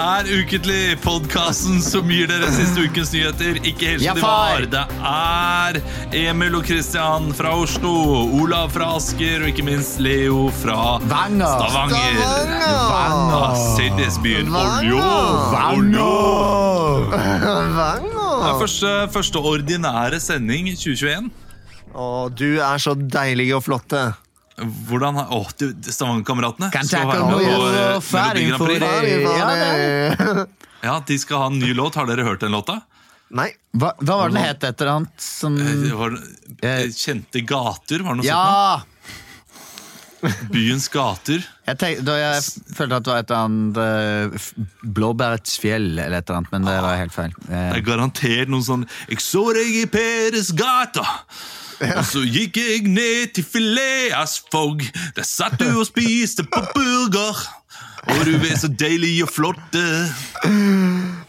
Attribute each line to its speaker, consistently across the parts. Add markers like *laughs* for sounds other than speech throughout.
Speaker 1: Ukentlig, podkasten som gir dere siste ukens nyheter. Ikke helt
Speaker 2: Ja,
Speaker 1: som de
Speaker 2: far.
Speaker 1: var. Det er Emil og Kristian fra Oslo, Olav fra Asker og ikke minst Leo fra
Speaker 2: Vanger.
Speaker 1: Stavanger. Ah, Sydnesbyen. Oljo! Oljo!
Speaker 2: Vanger!
Speaker 1: Det er
Speaker 3: Vanger!
Speaker 1: første, første ordinære sending 2021.
Speaker 3: Å, du er så deilig og flotte.
Speaker 1: Hvordan har- Å, du, Stavanger-kameratene
Speaker 2: Kan
Speaker 1: skal
Speaker 2: takke
Speaker 1: være
Speaker 2: om
Speaker 1: med
Speaker 2: å
Speaker 1: på eh,
Speaker 2: gjøre
Speaker 1: Melodi
Speaker 2: ferdig
Speaker 1: Grand
Speaker 2: for
Speaker 1: Prix.
Speaker 2: det.
Speaker 3: Fari,
Speaker 2: Ja,
Speaker 3: fari.
Speaker 1: Ja, de skal ha en ny låt. Har dere hørt den låta?
Speaker 3: Nei.
Speaker 2: Hva, hva var den het et eller annet som
Speaker 1: Det var,
Speaker 2: Eh,
Speaker 1: kjente gater, var det noe sånt?
Speaker 2: Ja!
Speaker 1: nå? Byens gater.
Speaker 2: Jeg tenkte, da jeg følte at det var et eller annet eh, f- Blåbærets fjell eller et eller annet, men det var helt feil. Eh,
Speaker 1: Det er garantert noen sånn Jeg så deg i Peresgata Og så gikk jeg ned til Phileas Fogg Der satt du og spiste på burger Og du er så deilig og flotte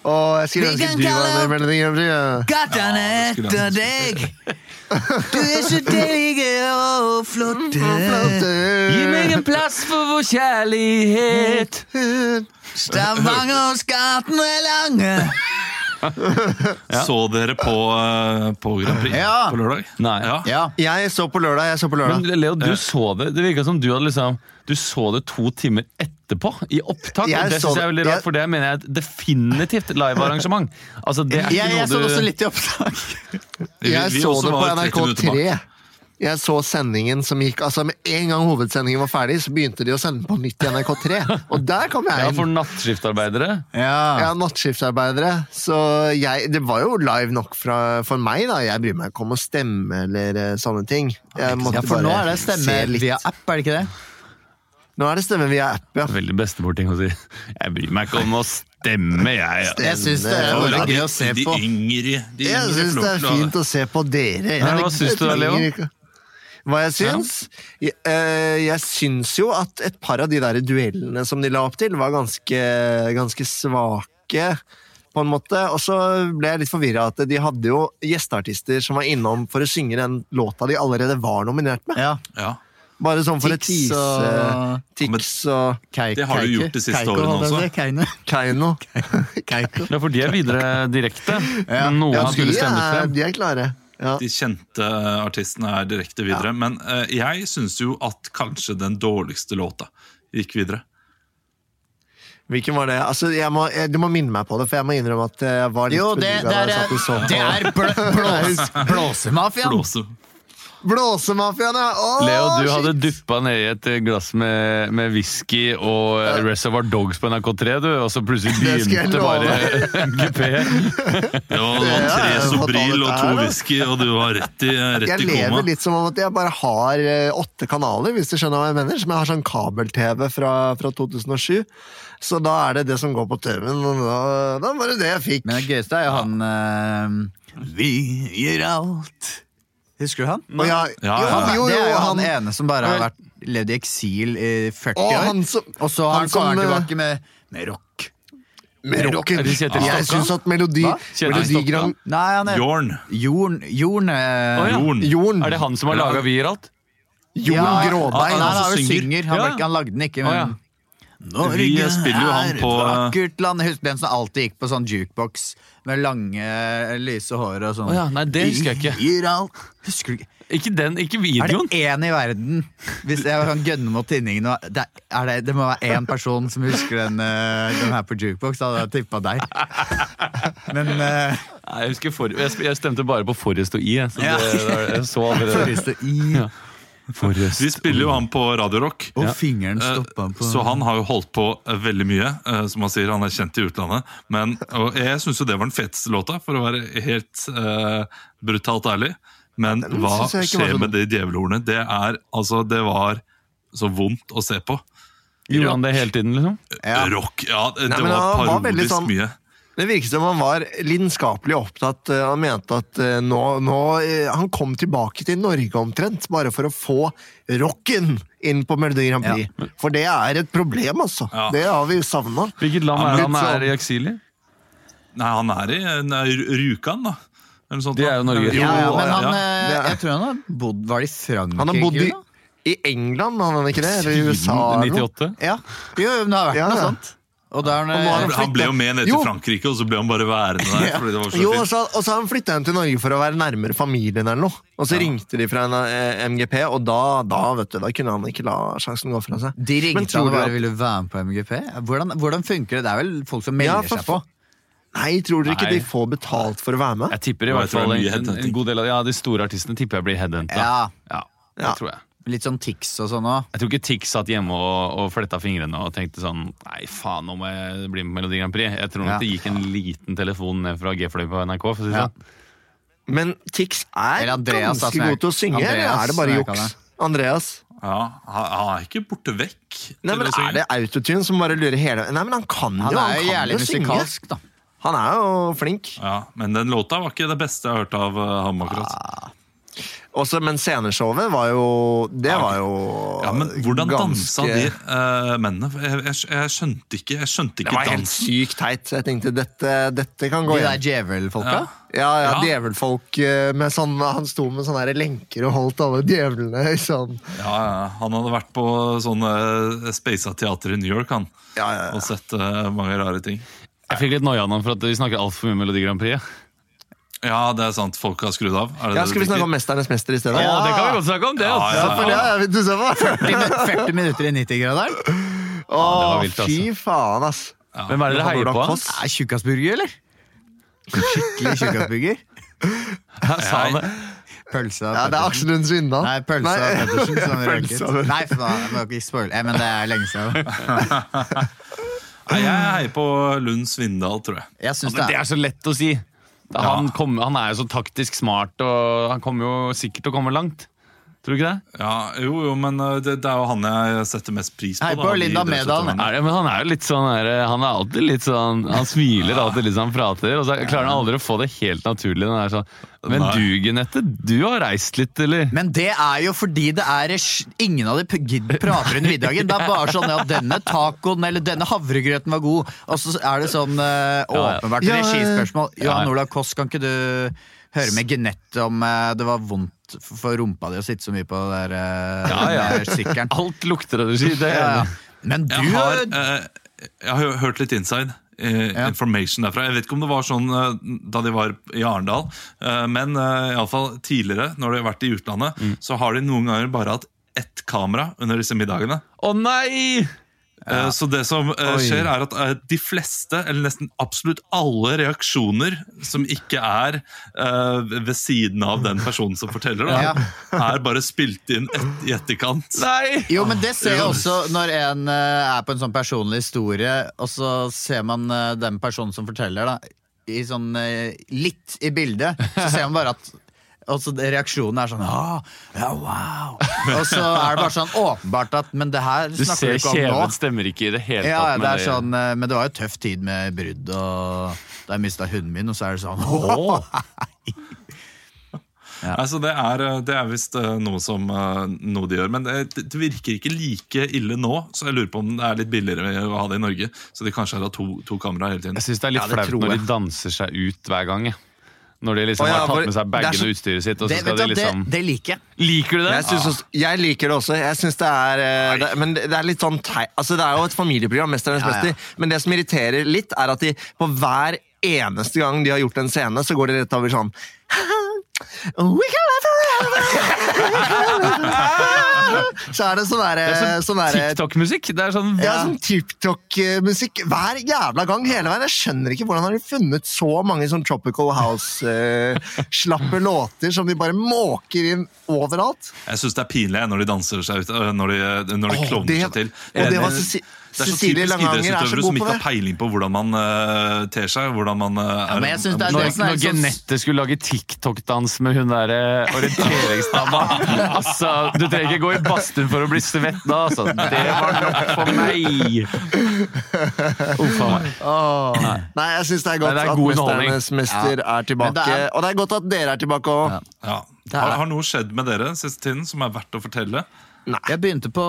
Speaker 3: Å, jeg
Speaker 2: Vi
Speaker 3: skulle ønske
Speaker 2: kan
Speaker 3: du var
Speaker 2: kalle
Speaker 3: med i
Speaker 2: opp-
Speaker 3: Melodi Grand Prix. ja.
Speaker 1: Ja,
Speaker 2: Gatene
Speaker 1: det skulle jeg
Speaker 2: deg! Du er så deilig og flott. Gi meg en plass for vår kjærlighet. Stavangers gaten er lange.
Speaker 1: Så dere på, eh, på Grand Prix
Speaker 2: Ja.
Speaker 1: på lørdag?
Speaker 4: Nei.
Speaker 1: Ja.
Speaker 2: Ja.
Speaker 3: Jeg så på lørdag. jeg så på lørdag.
Speaker 4: Men Leo, du så det Det virka som du hadde liksom Du så det to timer etterpå, i opptak.
Speaker 3: Jeg
Speaker 4: og det
Speaker 3: så
Speaker 4: synes jeg er
Speaker 3: det-
Speaker 4: veldig rart,
Speaker 3: jeg-
Speaker 4: for det mener jeg er et definitivt livearrangement. Altså, det er ikke
Speaker 2: Jeg, jeg så
Speaker 4: noe
Speaker 2: det
Speaker 4: du
Speaker 2: også litt i opptak.
Speaker 1: Vi-
Speaker 3: Jeg
Speaker 1: vi
Speaker 3: så
Speaker 1: også
Speaker 3: det på
Speaker 1: var 30 minutter bak.
Speaker 3: NRK3. Jeg så sendingen som gikk Altså Med en gang hovedsendingen var ferdig, så begynte de å sende på nytt i NRK3. Og der kom
Speaker 4: Ja,
Speaker 3: jeg
Speaker 4: for
Speaker 3: inn.
Speaker 4: nattskiftarbeidere.
Speaker 3: Jeg
Speaker 2: Ja.
Speaker 3: er nattskiftarbeidere, så jeg, det var jo live nok fra, for meg. da Jeg bryr meg ikke om å stemme eller eh, sånne ting. Jeg måtte
Speaker 2: ja, for nå
Speaker 3: bare
Speaker 2: er det stemme
Speaker 3: se litt.
Speaker 2: via app, er det ikke det?
Speaker 3: Nå er det stemme via app, ja.
Speaker 4: Veldig bestemorting å si. Jeg bryr meg ikke om å stemme, jeg.
Speaker 2: Jeg syns det er
Speaker 1: Og
Speaker 2: veldig gøy å se
Speaker 1: de
Speaker 2: på.
Speaker 1: yngre, de yngre
Speaker 3: Jeg syns det er
Speaker 1: flotte.
Speaker 3: fint å se på dere. Jeg
Speaker 4: Ja, hva
Speaker 3: vet ikke,
Speaker 4: syns du da, Leo?
Speaker 3: trenger ikke- Hva jeg syns? Jeg, eh, jeg syns jo at et par av de der duellene som de la opp til, var ganske, ganske svake. På en måte, Og så ble jeg litt forvirra at de hadde jo gjesteartister som var innom for å synge den låta de allerede var nominert med.
Speaker 2: Ja.
Speaker 1: Ja.
Speaker 3: Bare sånn for å
Speaker 2: Tix
Speaker 3: tease
Speaker 2: og-
Speaker 3: Tix og
Speaker 2: eh, Kei-
Speaker 1: Det har du
Speaker 2: Keiko.
Speaker 1: gjort de siste
Speaker 2: Keiko,
Speaker 1: årene
Speaker 2: holdt jeg på å si.
Speaker 1: også.
Speaker 2: Keine.
Speaker 3: Keiino.
Speaker 2: Keiko.
Speaker 4: Ja, for de er videre direkte.
Speaker 2: Ja.
Speaker 4: Men
Speaker 3: *laughs*
Speaker 4: Noen
Speaker 3: Ja,
Speaker 4: skulle
Speaker 3: de,
Speaker 4: stemme
Speaker 3: er-
Speaker 4: frem.
Speaker 3: de er klare. Ja.
Speaker 1: de kjente artistene er direkte videre. Men eh, jeg syns jo at kanskje den dårligste låta gikk videre.
Speaker 3: Hvilken var det? Altså, jeg må, jeg, du må minne meg på det, for jeg må innrømme at eh, jeg var litt
Speaker 2: Jo, det, det
Speaker 3: forvirret da
Speaker 2: er, eh,
Speaker 3: jeg satt og så på.
Speaker 2: det er blå, blås, blåsemafiaen.
Speaker 1: Blåse.
Speaker 3: Blåsemafiaen, ja! Åh,
Speaker 4: Leo, du
Speaker 3: shit!
Speaker 4: hadde duppa nedi et glass med, med whisky og eh, Reservoir Dogs på NRK3, du, og så plutselig
Speaker 3: Det skal jeg
Speaker 4: begynte
Speaker 3: love.
Speaker 4: bare *laughs* MGP.
Speaker 1: Det var, det var
Speaker 3: Ja,
Speaker 1: tre
Speaker 3: jeg må ta
Speaker 1: Sobril
Speaker 3: dette
Speaker 1: og to
Speaker 3: her, da.
Speaker 1: whisky, og du var rett i, rett
Speaker 3: Jeg
Speaker 1: i
Speaker 3: lever
Speaker 1: koma.
Speaker 3: litt som om at jeg bare har eh, åtte kanaler, hvis du skjønner hva jeg mener. Som jeg har sånn kabel-TV fra, fra 2007. Så da er det det som går på TV-en. og Da, da var det det jeg fikk.
Speaker 2: Men det gøyeste er jo han eh, Vi gir alt. Husker du han?
Speaker 3: Og jeg,
Speaker 1: Ja, ja, ja.
Speaker 3: Jo, jo,
Speaker 2: det er
Speaker 3: jo,
Speaker 2: jo han,
Speaker 3: han,
Speaker 2: ene som bare har vært levd i eksil i 40
Speaker 3: Å,
Speaker 2: år.
Speaker 3: han som-
Speaker 2: og så
Speaker 3: han
Speaker 2: han
Speaker 3: som,
Speaker 2: kommer han
Speaker 3: eh,
Speaker 2: tilbake med, med rock.
Speaker 3: med
Speaker 4: Er
Speaker 3: rocken.
Speaker 4: det Kjetil
Speaker 3: Jeg
Speaker 4: Stokka?
Speaker 3: syns at melodi,
Speaker 2: Hva?
Speaker 4: Kjetil
Speaker 3: melodi
Speaker 4: Stokka?
Speaker 3: Grand
Speaker 2: Nei, han er
Speaker 1: Jorn.
Speaker 2: Jorn Jorn eh,
Speaker 4: Å, ja.
Speaker 1: Jorn.
Speaker 3: Jorn.
Speaker 4: Er det han som har laga Viralt?
Speaker 3: Jorn
Speaker 2: ja,
Speaker 3: Gråbein.
Speaker 2: Han, han,
Speaker 1: han
Speaker 2: er jo
Speaker 1: som synger.
Speaker 2: synger. Han,
Speaker 4: altså Ja.
Speaker 2: var ikke- han lagde den ikke, men
Speaker 4: Å, ja.
Speaker 2: Norge
Speaker 1: Vi spiller jo han
Speaker 2: er et
Speaker 1: på-
Speaker 2: vakkert land. Jeg husker den som alltid gikk på sånn jukebox med lange, eh, lyse hår og sånn.
Speaker 4: Å ja, nei, det husker jeg ikke.
Speaker 2: Vi gir alt. Husker du ikke?
Speaker 4: Ikke den, ikke
Speaker 2: Er
Speaker 4: videoen.
Speaker 2: det én i verden Hvis jeg kan gønne mot tinningen nå, det, er det, det må være én person som husker den, eh, den her på jukebox. Da hadde jeg tippa deg. Men eh,
Speaker 4: Nei, jeg, husker for, jeg, sp- jeg stemte bare på Forrest og I. jeg, Så det,
Speaker 2: Ja.
Speaker 4: det- jeg så allerede
Speaker 2: Forrest og i
Speaker 4: Ja. Forrest.
Speaker 1: Vi spiller jo han på Radio Rock.
Speaker 2: Og fingeren
Speaker 1: Eh,
Speaker 2: stoppa på
Speaker 1: Så han har jo holdt på eh, veldig mye, eh, som han sier. Han er kjent i utlandet. Men, og jeg syns jo det var den feteste låta, for å være helt eh, brutalt ærlig. Men
Speaker 3: den
Speaker 1: hva
Speaker 3: synes jeg ikke var
Speaker 1: skjer
Speaker 3: så
Speaker 1: med de djevelhornene? Det er altså Det var så vondt å se på.
Speaker 4: Gjorde han det hele tiden, liksom?
Speaker 2: Ja.
Speaker 1: Rock. Ja, det,
Speaker 3: Nei,
Speaker 1: det
Speaker 3: men
Speaker 1: var
Speaker 3: han var veldig
Speaker 1: parodisk
Speaker 3: sånn-
Speaker 1: mye.
Speaker 3: Det virket som han var lidenskapelig opptatt. eh, Han mente at eh, nå, nå eh, Han kom tilbake til Norge omtrent, bare for å få rocken inn på Melodi Grand Prix. For det er et problem, altså.
Speaker 1: Ja.
Speaker 3: Det har vi savna.
Speaker 4: Hvilket land
Speaker 1: Ja,
Speaker 4: er
Speaker 3: men
Speaker 4: han
Speaker 3: litt
Speaker 4: er i eksil i?
Speaker 1: Nei, han er i nei, R- Rjukan, da. Eller noe sånt,
Speaker 4: Det er jo
Speaker 1: da.
Speaker 4: Norge.
Speaker 2: Ja, ja, men han,
Speaker 1: ja.
Speaker 2: eh,
Speaker 3: Det er-
Speaker 2: jeg tror han har bodd Var det i Frankrike?
Speaker 3: Han har bodd i,
Speaker 2: eller noe?
Speaker 3: i England, han er ikke det? Eller i USA? eller noe?
Speaker 4: 98?
Speaker 2: Ja. Jo, jo, men det har vært
Speaker 3: Ja,
Speaker 2: noe
Speaker 3: ja.
Speaker 2: sånt. Og da er
Speaker 3: Og nå har
Speaker 2: han,
Speaker 3: flyttet.
Speaker 1: Han ble jo med ned til
Speaker 3: Jo.
Speaker 1: Frankrike, og så ble han bare værende der. Fordi det var så
Speaker 3: Jo, og
Speaker 1: fint.
Speaker 3: så, og så han flytta han til Norge for å være nærmere familien eller noe. Og så ringte de fra en, eh, MGP, og da, da, vet du, da kunne han ikke la sjansen gå fra seg.
Speaker 2: de
Speaker 3: Men
Speaker 2: ringte
Speaker 3: tror
Speaker 2: han og
Speaker 3: du
Speaker 2: bare
Speaker 3: at-
Speaker 2: ville være med på MGP. Hvordan, hvordan funker det? Det er vel folk som melder
Speaker 3: Ja, for
Speaker 2: seg på?
Speaker 3: Nei, tror dere ikke
Speaker 4: Nei.
Speaker 3: de får betalt for å være med?
Speaker 4: Jeg tipper
Speaker 1: Nei,
Speaker 4: i hvert
Speaker 1: jeg tror
Speaker 4: fall
Speaker 1: det er
Speaker 4: en,
Speaker 1: mye
Speaker 4: en,
Speaker 1: headhunting.
Speaker 4: god del av de, ja, de store artistene tipper jeg blir headhunta.
Speaker 2: Ja.
Speaker 4: Ja, det
Speaker 3: Ja.
Speaker 4: tror jeg.
Speaker 2: Litt sånn tics og sånn òg.
Speaker 4: Jeg tror ikke Tix satt hjemme og, og fletta fingrene og tenkte sånn Nei, faen, nå må jeg bli med på Melodi Grand Prix. Jeg tror nok
Speaker 2: Ja.
Speaker 4: det gikk en liten telefon ned fra G-fløy på NRK. For å si det
Speaker 2: Ja.
Speaker 4: sånn.
Speaker 3: Men Tix er
Speaker 2: Eller Andreas, da,
Speaker 3: ganske
Speaker 2: som jeg-
Speaker 3: god til å synge,
Speaker 2: Andreas,
Speaker 3: eller er det
Speaker 2: som
Speaker 3: bare
Speaker 2: jeg kaller
Speaker 3: juks? Andreas?
Speaker 1: Ja, han han er ikke borte vekk.
Speaker 3: Nei, men
Speaker 1: Eller så-
Speaker 3: Er det autotune som bare lurer hele Nei, men han kan jo,
Speaker 2: Han
Speaker 3: han
Speaker 2: er jo
Speaker 3: kan jo
Speaker 2: jævlig
Speaker 3: synge.
Speaker 2: musikalsk, da.
Speaker 3: Han er jo flink.
Speaker 1: Ja, Men den låta var ikke det beste jeg har hørt av eh, ham akkurat.
Speaker 3: Også, men sceneshowet var jo Det var jo
Speaker 1: Ja, Men hvordan dansa
Speaker 3: ganske-
Speaker 1: de eh, mennene? Jeg, jeg, jeg skjønte ikke, jeg skjønte
Speaker 3: Det
Speaker 1: ikke
Speaker 3: var helt
Speaker 1: dansen.
Speaker 3: sykt teit. Jeg tenkte dette, dette kan gå
Speaker 2: De der
Speaker 3: igjen.
Speaker 2: djevelfolka.
Speaker 1: Ja.
Speaker 3: Ja, ja,
Speaker 1: Ja.
Speaker 3: Djevelfolk eh, med sånn Han sto med sånne her lenker og holdt alle djevlene i sånn
Speaker 1: Ja, ja, Han hadde vært på sånn eh, speisa teater i New York han,
Speaker 3: Ja, ja, ja.
Speaker 1: og sett eh, mange rare ting.
Speaker 4: Jeg fikk litt noia nå for at vi snakker altfor mye om Melodi Grand Prix.
Speaker 1: Ja, det er sant. Folk har skrudd av. Er det det
Speaker 3: Ja,
Speaker 1: du
Speaker 3: Skal vi snakke
Speaker 1: tenker?
Speaker 3: om Mesternes mester i stedet?
Speaker 4: Å, det kan vi godt snakke om! det
Speaker 1: Ja,
Speaker 4: altså.
Speaker 3: Ja, for det er vi til sammen.
Speaker 2: 40 minutter i 90-graderen?
Speaker 3: Å,
Speaker 4: var vilt, altså.
Speaker 3: fy faen, ass.
Speaker 4: Hvem er det dere heier på?
Speaker 3: Koss.
Speaker 2: Er Tjukkasburger, eller? Skikkelig tjukkasburger?
Speaker 4: Jeg sa det.
Speaker 2: Pølse av
Speaker 3: Ja, det er
Speaker 2: Pettersen.
Speaker 3: Aksel Lund Svindal.
Speaker 2: Nei, pølse av
Speaker 4: altså.
Speaker 2: Pettersen. Som
Speaker 3: Pølse av
Speaker 2: røket. Nei, faen, jeg må ikke spoile. Eh, Men det er lenge siden.
Speaker 1: Nei, jeg heier på Lund Svindal, tror jeg.
Speaker 2: Jeg synes
Speaker 4: Men
Speaker 2: det
Speaker 4: Altså, det
Speaker 2: er
Speaker 4: er så lett å si. Da, han, kom, han er jo så taktisk smart, og han kommer jo sikkert til å komme langt. Tror du ikke det?
Speaker 1: Ja, jo, jo, men eh, det, det er jo han jeg setter mest pris på.
Speaker 2: Hei
Speaker 1: da,
Speaker 2: på
Speaker 1: av de
Speaker 2: Linda
Speaker 1: idrettsutøverne.
Speaker 2: Medal.
Speaker 4: Er det? Men han er jo litt sånn der, Han er alltid litt sånn Han smiler alltid litt sånn han prater, og så klarer han aldri å få det helt naturlig. Den er sånn, Men
Speaker 1: Nei.
Speaker 4: du, Genette, du har reist litt, eller?
Speaker 2: men det er jo fordi det er eh, sj- ingen av de p- gidder prater under middagen. Det er bare sånn at denne tacoen eller denne havregrøten var god. Og så er det sånn eh,
Speaker 4: Ja, ja.
Speaker 2: åpenbart
Speaker 3: Ja, ja.
Speaker 2: regispørsmål.
Speaker 4: Ja, ja.
Speaker 2: Johan Olav Koss, kan ikke du høre med Genette om eh, det var vondt for- for rumpa di å sitte så mye på det der eh,
Speaker 4: Ja, ja.
Speaker 2: den der *laughs* sykkelen?
Speaker 4: Alt lukter av det, sier det.
Speaker 2: Ja, ja. Men du
Speaker 1: Jeg har,
Speaker 2: har
Speaker 1: eh, jeg har hørt litt inside eh,
Speaker 2: Ja.
Speaker 1: information derfra. Jeg vet ikke om det var sånn eh, da de var i Arendal, eh, men eh, i alle fall tidligere, når de har vært i utlandet, så har de noen ganger bare hatt ett kamera under disse middagene.
Speaker 4: Å nei!
Speaker 1: Eh, Så det som eh,
Speaker 3: Oi.
Speaker 1: skjer, er at eh, de fleste, eller nesten absolutt alle reaksjoner som ikke er eh, ved siden av den personen som forteller, da, er bare spilt inn et, i etterkant.
Speaker 4: Nei!
Speaker 2: Jo, men det ser jeg
Speaker 1: Ja.
Speaker 2: også når en eh, er på en sånn personlig historie, og så ser man eh, den personen som forteller, da, i sånn eh, litt i bildet, så ser man bare at og så det- reaksjonen er sånn «Ah, ja, wow. Og så er det bare sånn åpenbart at Men det her
Speaker 4: Du
Speaker 2: snakker
Speaker 4: ser
Speaker 2: du ikke om
Speaker 4: kjeven
Speaker 2: nå.
Speaker 4: stemmer ikke i det hele
Speaker 2: Ja,
Speaker 4: tatt.
Speaker 2: ja, det er sånn, eh, men det var jo tøff tid med brudd, og da jeg mista hunden min, og så er det sånn «Åh!» *laughs*
Speaker 1: Altså, det er, eh, det er visst eh, noe, som, eh, noe de gjør. Men det, det virker ikke like ille nå, så jeg lurer på om det er litt billigere å ha det i Norge. Så de kanskje har hatt to, to kameraer hele tiden.
Speaker 4: Jeg syns det er litt
Speaker 3: Ja, det tror
Speaker 4: flaut når
Speaker 3: jeg.
Speaker 4: de danser seg ut hver gang. jeg. Når de liksom
Speaker 3: Å, ja,
Speaker 4: har
Speaker 3: for-
Speaker 4: tatt med seg
Speaker 3: det er
Speaker 4: bagen
Speaker 3: så-
Speaker 4: og utstyret sitt, og så
Speaker 2: Det, vet
Speaker 4: skal
Speaker 2: du,
Speaker 4: de
Speaker 2: hva, det,
Speaker 4: liksom
Speaker 2: det liker jeg.
Speaker 4: Liker du det?
Speaker 3: Jeg, synes også, jeg liker det også. Jeg synes det er, eh, det, men det det er litt sånn tei, altså Det er jo et familieprogram, Mesternes
Speaker 2: Ja, ja.
Speaker 3: mester, men det som irriterer litt, er at de på hver eneste gang de har gjort en scene, så går de rett over sånn *laughs* We can live
Speaker 4: *laughs*
Speaker 3: forever. *laughs* Så er det sånn derre
Speaker 4: Det er
Speaker 3: sånn
Speaker 4: sånn
Speaker 3: derre-
Speaker 4: TikTok-musikk. Det er sånn
Speaker 3: ja, sånn TikTok-musikk hver jævla gang hele veien. Jeg skjønner ikke hvordan har de funnet så mange sånn Tropical *laughs* House-slappe låter som de bare måker inn overalt.
Speaker 1: Jeg syns det er pinlig jeg, når de danser seg ut, øh, når de, øh, når de
Speaker 3: Åh,
Speaker 1: klovner
Speaker 3: det-
Speaker 1: seg til.
Speaker 3: og det var Ceci-
Speaker 1: det er så
Speaker 3: Cecilie
Speaker 1: typisk
Speaker 3: Langanger er så
Speaker 1: idrettsutøvere
Speaker 3: god
Speaker 1: som
Speaker 3: på
Speaker 1: ikke har
Speaker 3: det.
Speaker 1: peiling på hvordan man øh, ter seg. hvordan man øh, er...
Speaker 2: men jeg synes det er
Speaker 4: Når,
Speaker 2: det som er
Speaker 4: når
Speaker 2: litt sånn-
Speaker 4: Genette skulle lage TikTok-dans med hun derre *laughs* orienteringsdama Altså, du trenger ikke gå i badstuen for å bli svett da, altså. Det var nok for meg. Uff a meg.
Speaker 3: Nei, jeg syns det er godt
Speaker 4: Nei, det er
Speaker 3: at
Speaker 4: god
Speaker 3: Mesternes mester er tilbake.
Speaker 2: Men det er-
Speaker 3: Og det er godt at dere er tilbake òg.
Speaker 1: ja. har, har noe skjedd med dere siste tiden som er verdt å fortelle?
Speaker 2: Jeg begynte på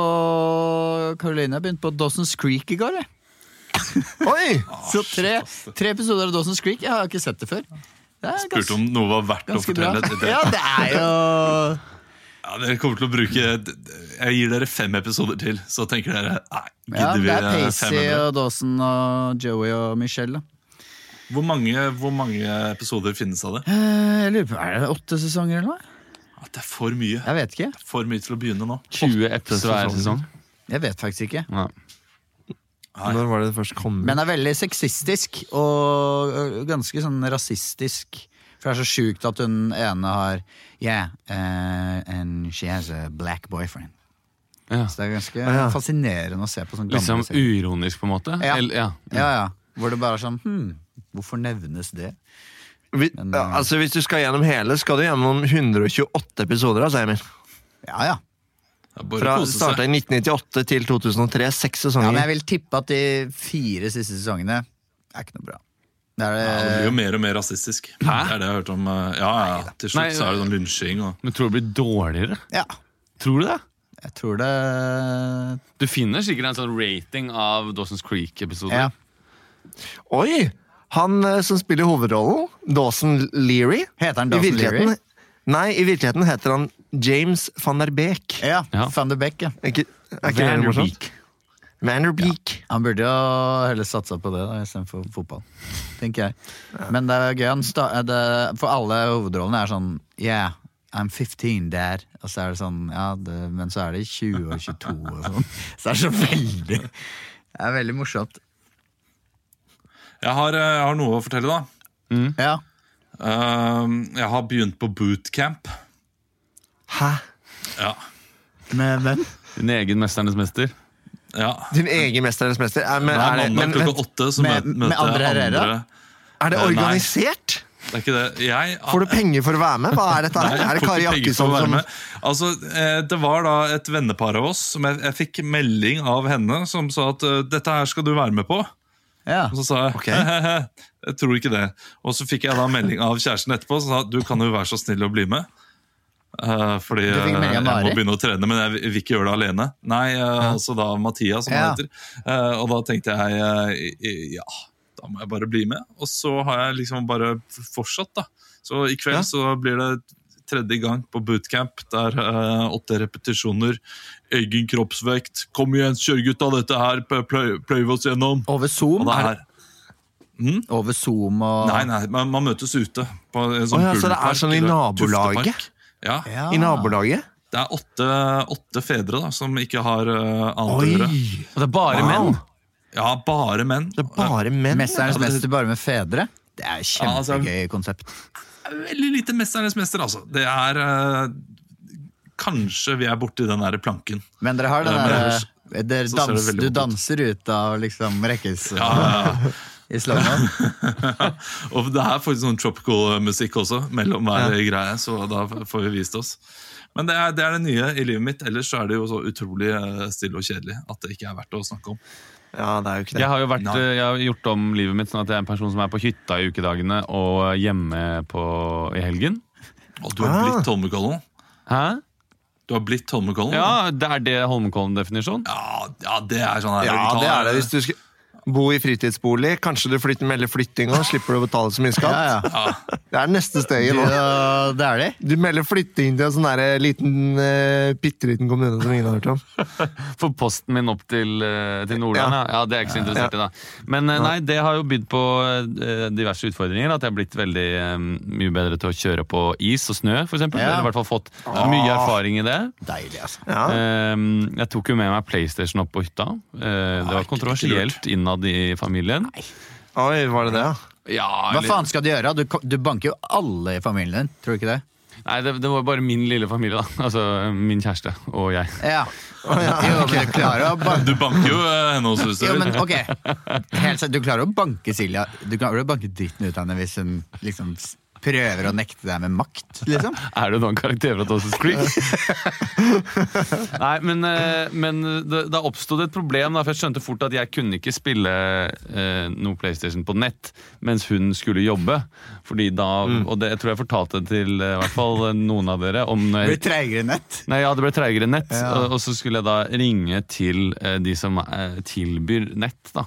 Speaker 2: Caroline, jeg begynte på Dawson's Creek i går. Jeg.
Speaker 3: Oi!
Speaker 2: Så tre, tre episoder av Dawson's Creek. Jeg har ikke sett det før. Det er
Speaker 1: Spurte
Speaker 2: ganske,
Speaker 1: om noe var verdt å
Speaker 2: ganske bra.
Speaker 1: fortelle. Det-
Speaker 2: *laughs* Ja, det er jo
Speaker 1: Ja, dere kommer til å bruke Jeg gir dere fem episoder til, så tenker dere Nei,
Speaker 2: Ja,
Speaker 1: gidder
Speaker 2: det er
Speaker 1: vi eh,
Speaker 2: Pacey
Speaker 1: 500?
Speaker 2: og Dawson og Joey og Michelle. da.
Speaker 1: Hvor mange, hvor mange episoder finnes av det?
Speaker 2: Eh, Jeg lurer på, Er det åtte sesonger eller noe?
Speaker 1: At det er for mye.
Speaker 2: Jeg vet ikke.
Speaker 1: For mye til å begynne nå.
Speaker 4: 20 episoder hver sesong.
Speaker 2: Jeg vet faktisk ikke.
Speaker 4: Ja.
Speaker 1: Nei.
Speaker 3: Når var det det først kom ut?
Speaker 2: Men er veldig sexistisk og ø, ganske sånn rasistisk. For det er så sjukt at hun ene har Yeah, eh, and she has a black boyfriend.
Speaker 4: Ja.
Speaker 2: Så det er ganske
Speaker 3: ja.
Speaker 2: fascinerende å se på sånn gamle
Speaker 4: Liksom
Speaker 2: serier.
Speaker 4: uironisk, på en måte?
Speaker 2: Ja.
Speaker 4: Eller- ja.
Speaker 2: Ja, ja. Hvor det bare er sånn hmm, Hvorfor nevnes det?
Speaker 3: Vi,
Speaker 2: Men,
Speaker 3: ja,
Speaker 2: eh,
Speaker 3: altså, hvis du skal gjennom hele, skal du gjennom 128 episoder. Altså, Emil.
Speaker 2: Ja, ja.
Speaker 1: Det er bare
Speaker 3: Fra
Speaker 1: å kose
Speaker 3: starta
Speaker 1: seg.
Speaker 3: i 1998 til 2003. Seks
Speaker 2: ja
Speaker 3: sesonger.
Speaker 2: men jeg vil tippe at de fire siste sesongene er ikke noe bra. Det er,
Speaker 1: Ja, det blir jo
Speaker 2: det,
Speaker 1: mer og mer rasistisk. Det er det jeg har hørt om. eh, Ja, ja, ja. Til
Speaker 4: Nei,
Speaker 1: slutt så er det sånn lynsjing og
Speaker 4: Men tror du det blir dårligere?
Speaker 2: ja,
Speaker 4: Tror du det?
Speaker 2: jeg tror det
Speaker 4: Du finner sikkert en sånn rating av Dawson's Creek-episoder.
Speaker 2: ja.
Speaker 3: Oi! Han eh, som spiller hovedrollen, Dawson Leary
Speaker 2: Heter han
Speaker 3: I
Speaker 2: Dawson
Speaker 3: virkeligheten-
Speaker 2: Leary?
Speaker 3: Nei, i virkeligheten heter han James van der Beek.
Speaker 1: Eh,
Speaker 2: Ja,
Speaker 4: Ja.
Speaker 2: Van de Beek, ja.
Speaker 3: Er ikke, er ikke det morsomt? Van der Beek.
Speaker 2: Han burde jo heller satsa på det da, istedenfor fotball, tenker jeg. Men det er gøy. Han sta eh, det, for alle hovedrollene er sånn Yeah, I'm 15 der. Og så er det sånn, ja, det, men så er det 20 og 22 og sånn. *laughs* Så det er så veldig Det er veldig morsomt.
Speaker 1: jeg har, eh, jeg har noe å fortelle, da.
Speaker 2: Ja.
Speaker 1: Ehm, Jeg har begynt på bootcamp.
Speaker 3: Hæ?
Speaker 1: Ja.
Speaker 2: Med hvem?
Speaker 4: Din egen Mesternes mester.
Speaker 1: ja.
Speaker 3: Din egen Mesternes mester? Er, men,
Speaker 1: Det er
Speaker 3: er, det, men,
Speaker 1: mandag klokka
Speaker 3: vent,
Speaker 1: åtte, så
Speaker 2: Med-
Speaker 1: møter
Speaker 2: med André
Speaker 1: andre
Speaker 2: Herrera?
Speaker 3: er det
Speaker 1: Eh, Nei.
Speaker 3: organisert?
Speaker 1: Det er ikke det. Jeg,
Speaker 3: Får du penger for å være med? Hva er dette her?
Speaker 1: Nei,
Speaker 3: er det
Speaker 1: jeg får
Speaker 3: Kari
Speaker 1: ikke penger for
Speaker 3: Jakkesson
Speaker 1: å være
Speaker 3: som
Speaker 1: med. Altså, eh, Det var da et vennepar av oss som jeg, jeg fikk melding av henne som sa at eh, dette her skal du være med på.
Speaker 2: Ja.
Speaker 1: Og så sa jeg
Speaker 3: Ok.
Speaker 1: «Hehehe, *laughs* jeg tror ikke det. Og så fikk jeg da melding av kjæresten etterpå som sa du kan jo være så snill å bli med. Eh, fordi
Speaker 2: Du fikk
Speaker 1: eh,
Speaker 2: melding
Speaker 1: jeg
Speaker 2: av
Speaker 1: må
Speaker 2: Mari?
Speaker 1: begynne å trene, men jeg vil- vil ikke gjøre det alene. Nei, eh, altså da Mathias, som
Speaker 2: Ja.
Speaker 1: han heter. Eh, og da tenkte jeg eh, i- i- ja, da må jeg bare bli med. Og så har jeg liksom bare f- fortsatt, da. Så i kveld
Speaker 3: Ja.
Speaker 1: så blir det tredje gang på bootcamp. Der eh, åtte repetisjoner, egen kroppsvekt. Kom igjen, kjør gutta, dette her pløy- pløy- pløyer vi oss gjennom.
Speaker 2: Over
Speaker 1: Og
Speaker 2: Zoom?
Speaker 1: det er
Speaker 2: Over Zoom og
Speaker 1: Nei, nei, man, man møtes ute. På en
Speaker 3: Å
Speaker 1: sånn
Speaker 3: ja, så det er
Speaker 1: pulverpark,
Speaker 3: sånn i
Speaker 1: eller
Speaker 3: nabolaget?
Speaker 1: tuftepark. Ja.
Speaker 2: Ja.
Speaker 3: I nabolaget?
Speaker 1: Det er åtte, åtte fedre da, som ikke har eh, annet å
Speaker 3: Oi!
Speaker 1: gjøre.
Speaker 4: Og det er bare menn!
Speaker 1: Ja, bare menn.
Speaker 3: Det er bare menn.
Speaker 2: Mesterens
Speaker 1: Ja, det-
Speaker 2: mester bare med fedre? Det er et
Speaker 1: Ja, altså-
Speaker 2: kjempegøy konsept.
Speaker 1: Veldig lite Mesternes mester, altså. Det er eh, Kanskje vi er borti den der planken.
Speaker 2: Men dere har det
Speaker 1: Ja, men ellers-
Speaker 2: der eh, dere
Speaker 1: så ser det
Speaker 2: dans,
Speaker 1: veldig vondt
Speaker 2: Du
Speaker 1: ut.
Speaker 2: danser ut av liksom rekkes
Speaker 1: Ja, ja, ja.
Speaker 2: i *laughs* slammen.
Speaker 1: *laughs* og det er faktisk sånn tropical musikk også, mellom hver greie, så da får vi vist oss. Men det er, det er det nye i livet mitt. Ellers så er det jo så utrolig eh, stille og kjedelig at det ikke er verdt å snakke om.
Speaker 3: Ja, det er jo ikke det.
Speaker 4: Jeg har jo vært,
Speaker 1: Nei.
Speaker 4: eh, jeg har gjort om livet mitt sånn at jeg er en person som er på hytta i ukedagene og hjemme på, i helgen.
Speaker 1: Og du har
Speaker 3: Ah.
Speaker 1: blitt Holmenkollen.
Speaker 4: Hæ?
Speaker 1: Du har blitt Holmenkollen.
Speaker 4: Ja, det er det Holmenkollen-definisjon.
Speaker 1: Ja, ja, det er sånn her.
Speaker 3: Ja,
Speaker 1: vi tar-
Speaker 3: det er det. Hvis du skal bo i fritidsbolig, kanskje du flytter melder flytting òg, slipper du å betale så mye skatt.
Speaker 2: Ja, ja.
Speaker 1: Ja.
Speaker 3: Det er neste steget nå.
Speaker 2: Ja, altså. det er de.
Speaker 3: Du melder flytting til en sånn der liten, uh, bitte liten kommune som ingen har hørt om.
Speaker 4: For posten min opp til, eh, til Nordland, ja.
Speaker 3: Ja.
Speaker 4: ja. Det er jeg ikke så interessert i, da. Men eh, nei, det har jo bydd på eh, diverse utfordringer. At jeg har blitt veldig eh, mye bedre til å kjøre på is og snø, f.eks. eksempel
Speaker 2: Ja.
Speaker 4: Eller i hvert fall fått mye erfaring i det.
Speaker 2: Deilig, altså.
Speaker 3: Ja.
Speaker 4: Ehm, Jeg tok jo med meg PlayStation opp på hytta. Eh, Det var kontroversielt innad i familien.
Speaker 3: Oi, var det det, ja?
Speaker 4: Ja,
Speaker 2: Hva
Speaker 4: eller-
Speaker 2: faen skal du gjøre? Du, du banker jo alle i familien din, tror du ikke det?
Speaker 4: Nei, det, det var jo bare min lille familie, da. Altså min kjæreste og jeg.
Speaker 2: Ja. Jo, men du klarer å *laughs* banke
Speaker 1: Du banker jo eh, henne også, hvis du
Speaker 2: jo, men
Speaker 1: vil.
Speaker 2: ok Helt seriøst, Du klarer å banke Silja Du klarer å banke dritten ut av henne hvis hun liksom s- prøver å nekte deg med makt, liksom.
Speaker 4: Er du nå en karakter fra Dawson's Creek? Nei, men, eh, men det, da oppstod det et problem, da, for jeg skjønte fort at jeg kunne ikke spille eh, noe PlayStation på nett mens hun skulle jobbe. Fordi da, Og det, jeg tror jeg fortalte det til eh, i hvert fall eh, noen av dere. om når jeg-
Speaker 2: Blir treigere nett.
Speaker 4: Nei, ja, det ble treigere nett,
Speaker 2: Ja.
Speaker 4: og, og så skulle jeg da ringe til eh, de som eh, tilbyr nett, da.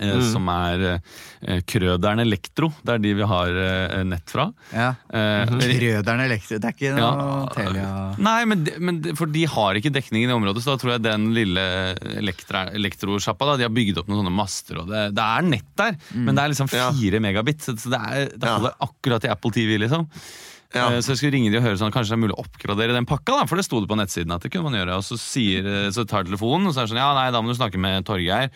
Speaker 4: eh,
Speaker 3: Mm.
Speaker 4: Som er eh, Krøderen Elektro. Det er de vi har eh, nett fra.
Speaker 2: Ja.
Speaker 4: Eh,
Speaker 3: Mhm.
Speaker 2: Røderen Elektro. Det er ikke noe
Speaker 4: Ja.
Speaker 2: Telia
Speaker 4: Nei, men, de- men de- for de har ikke dekningen i området, så da tror jeg den lille elektra, elektrosjappa da, de har bygd opp noen sånne master, og det, det er nett der, men det er liksom
Speaker 3: Mm. Ja.
Speaker 4: fire megabit, så det, er, det
Speaker 3: Ja.
Speaker 4: holder akkurat i Apple TV, liksom.
Speaker 3: Ja.
Speaker 4: Eh, Så jeg skulle ringe de og høre sånn, kanskje det er mulig å oppgradere den pakka, da, for det sto det på nettsiden at det kunne man gjøre, og så, sier, eh, så tar telefonen, og så er det sånn, ja, nei, da må du snakke med Torgeir,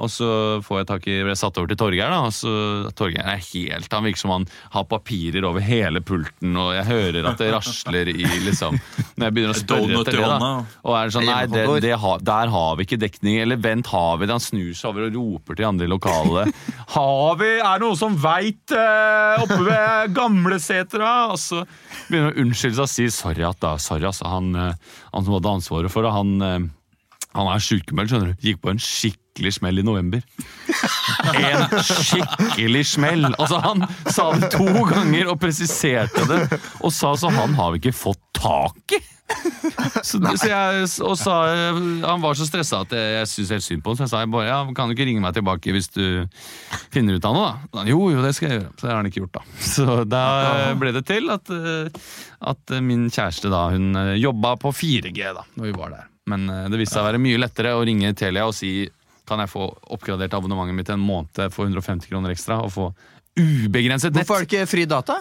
Speaker 4: og så får jeg tak i, ble satt over til Torgeir, da, og så Torgeir er helt, han virker som han har papirer over hele pulten, og jeg hører at det rasler i, liksom, når jeg begynner å spørre
Speaker 1: *laughs* Donut i
Speaker 4: etter det, da.
Speaker 1: hånda.
Speaker 4: Og er det sånn, nei, det, det har, der har vi ikke dekning, eller vent, har vi det? Han snur seg over og roper til de andre i lokalet. Har vi, er det noen som veit eh, oppe ved Gamlesetra? Og så begynner han å unnskylde seg og si sorry, at da, sorry, altså. Han, eh, han som hadde ansvaret for det, han, eh, han er sykemeldt, skjønner du. Gikk på en skikkelig smell i november. En skikkelig smell! Altså, han sa det to ganger og presiserte det, og sa så han har vi ikke fått tak i! Så, så jeg, og sa, han var så stressa at jeg, jeg syntes helt synd på ham. Så jeg sa jeg bare, ja, kan du ikke ringe meg tilbake hvis du finner ut av noe. da? Da han, Jo, jo, det skal jeg gjøre. Så det har han ikke gjort, da. Så da ble det til at, eh, at min kjæreste da, hun eh, jobba på 4G da når vi var der. Men eh, det viste seg å være mye lettere å ringe Telia og si kan jeg få oppgradert abonnementet mitt en måned for 150 kroner ekstra og få ubegrenset nett.
Speaker 2: Hvorfor er det ikke fri data?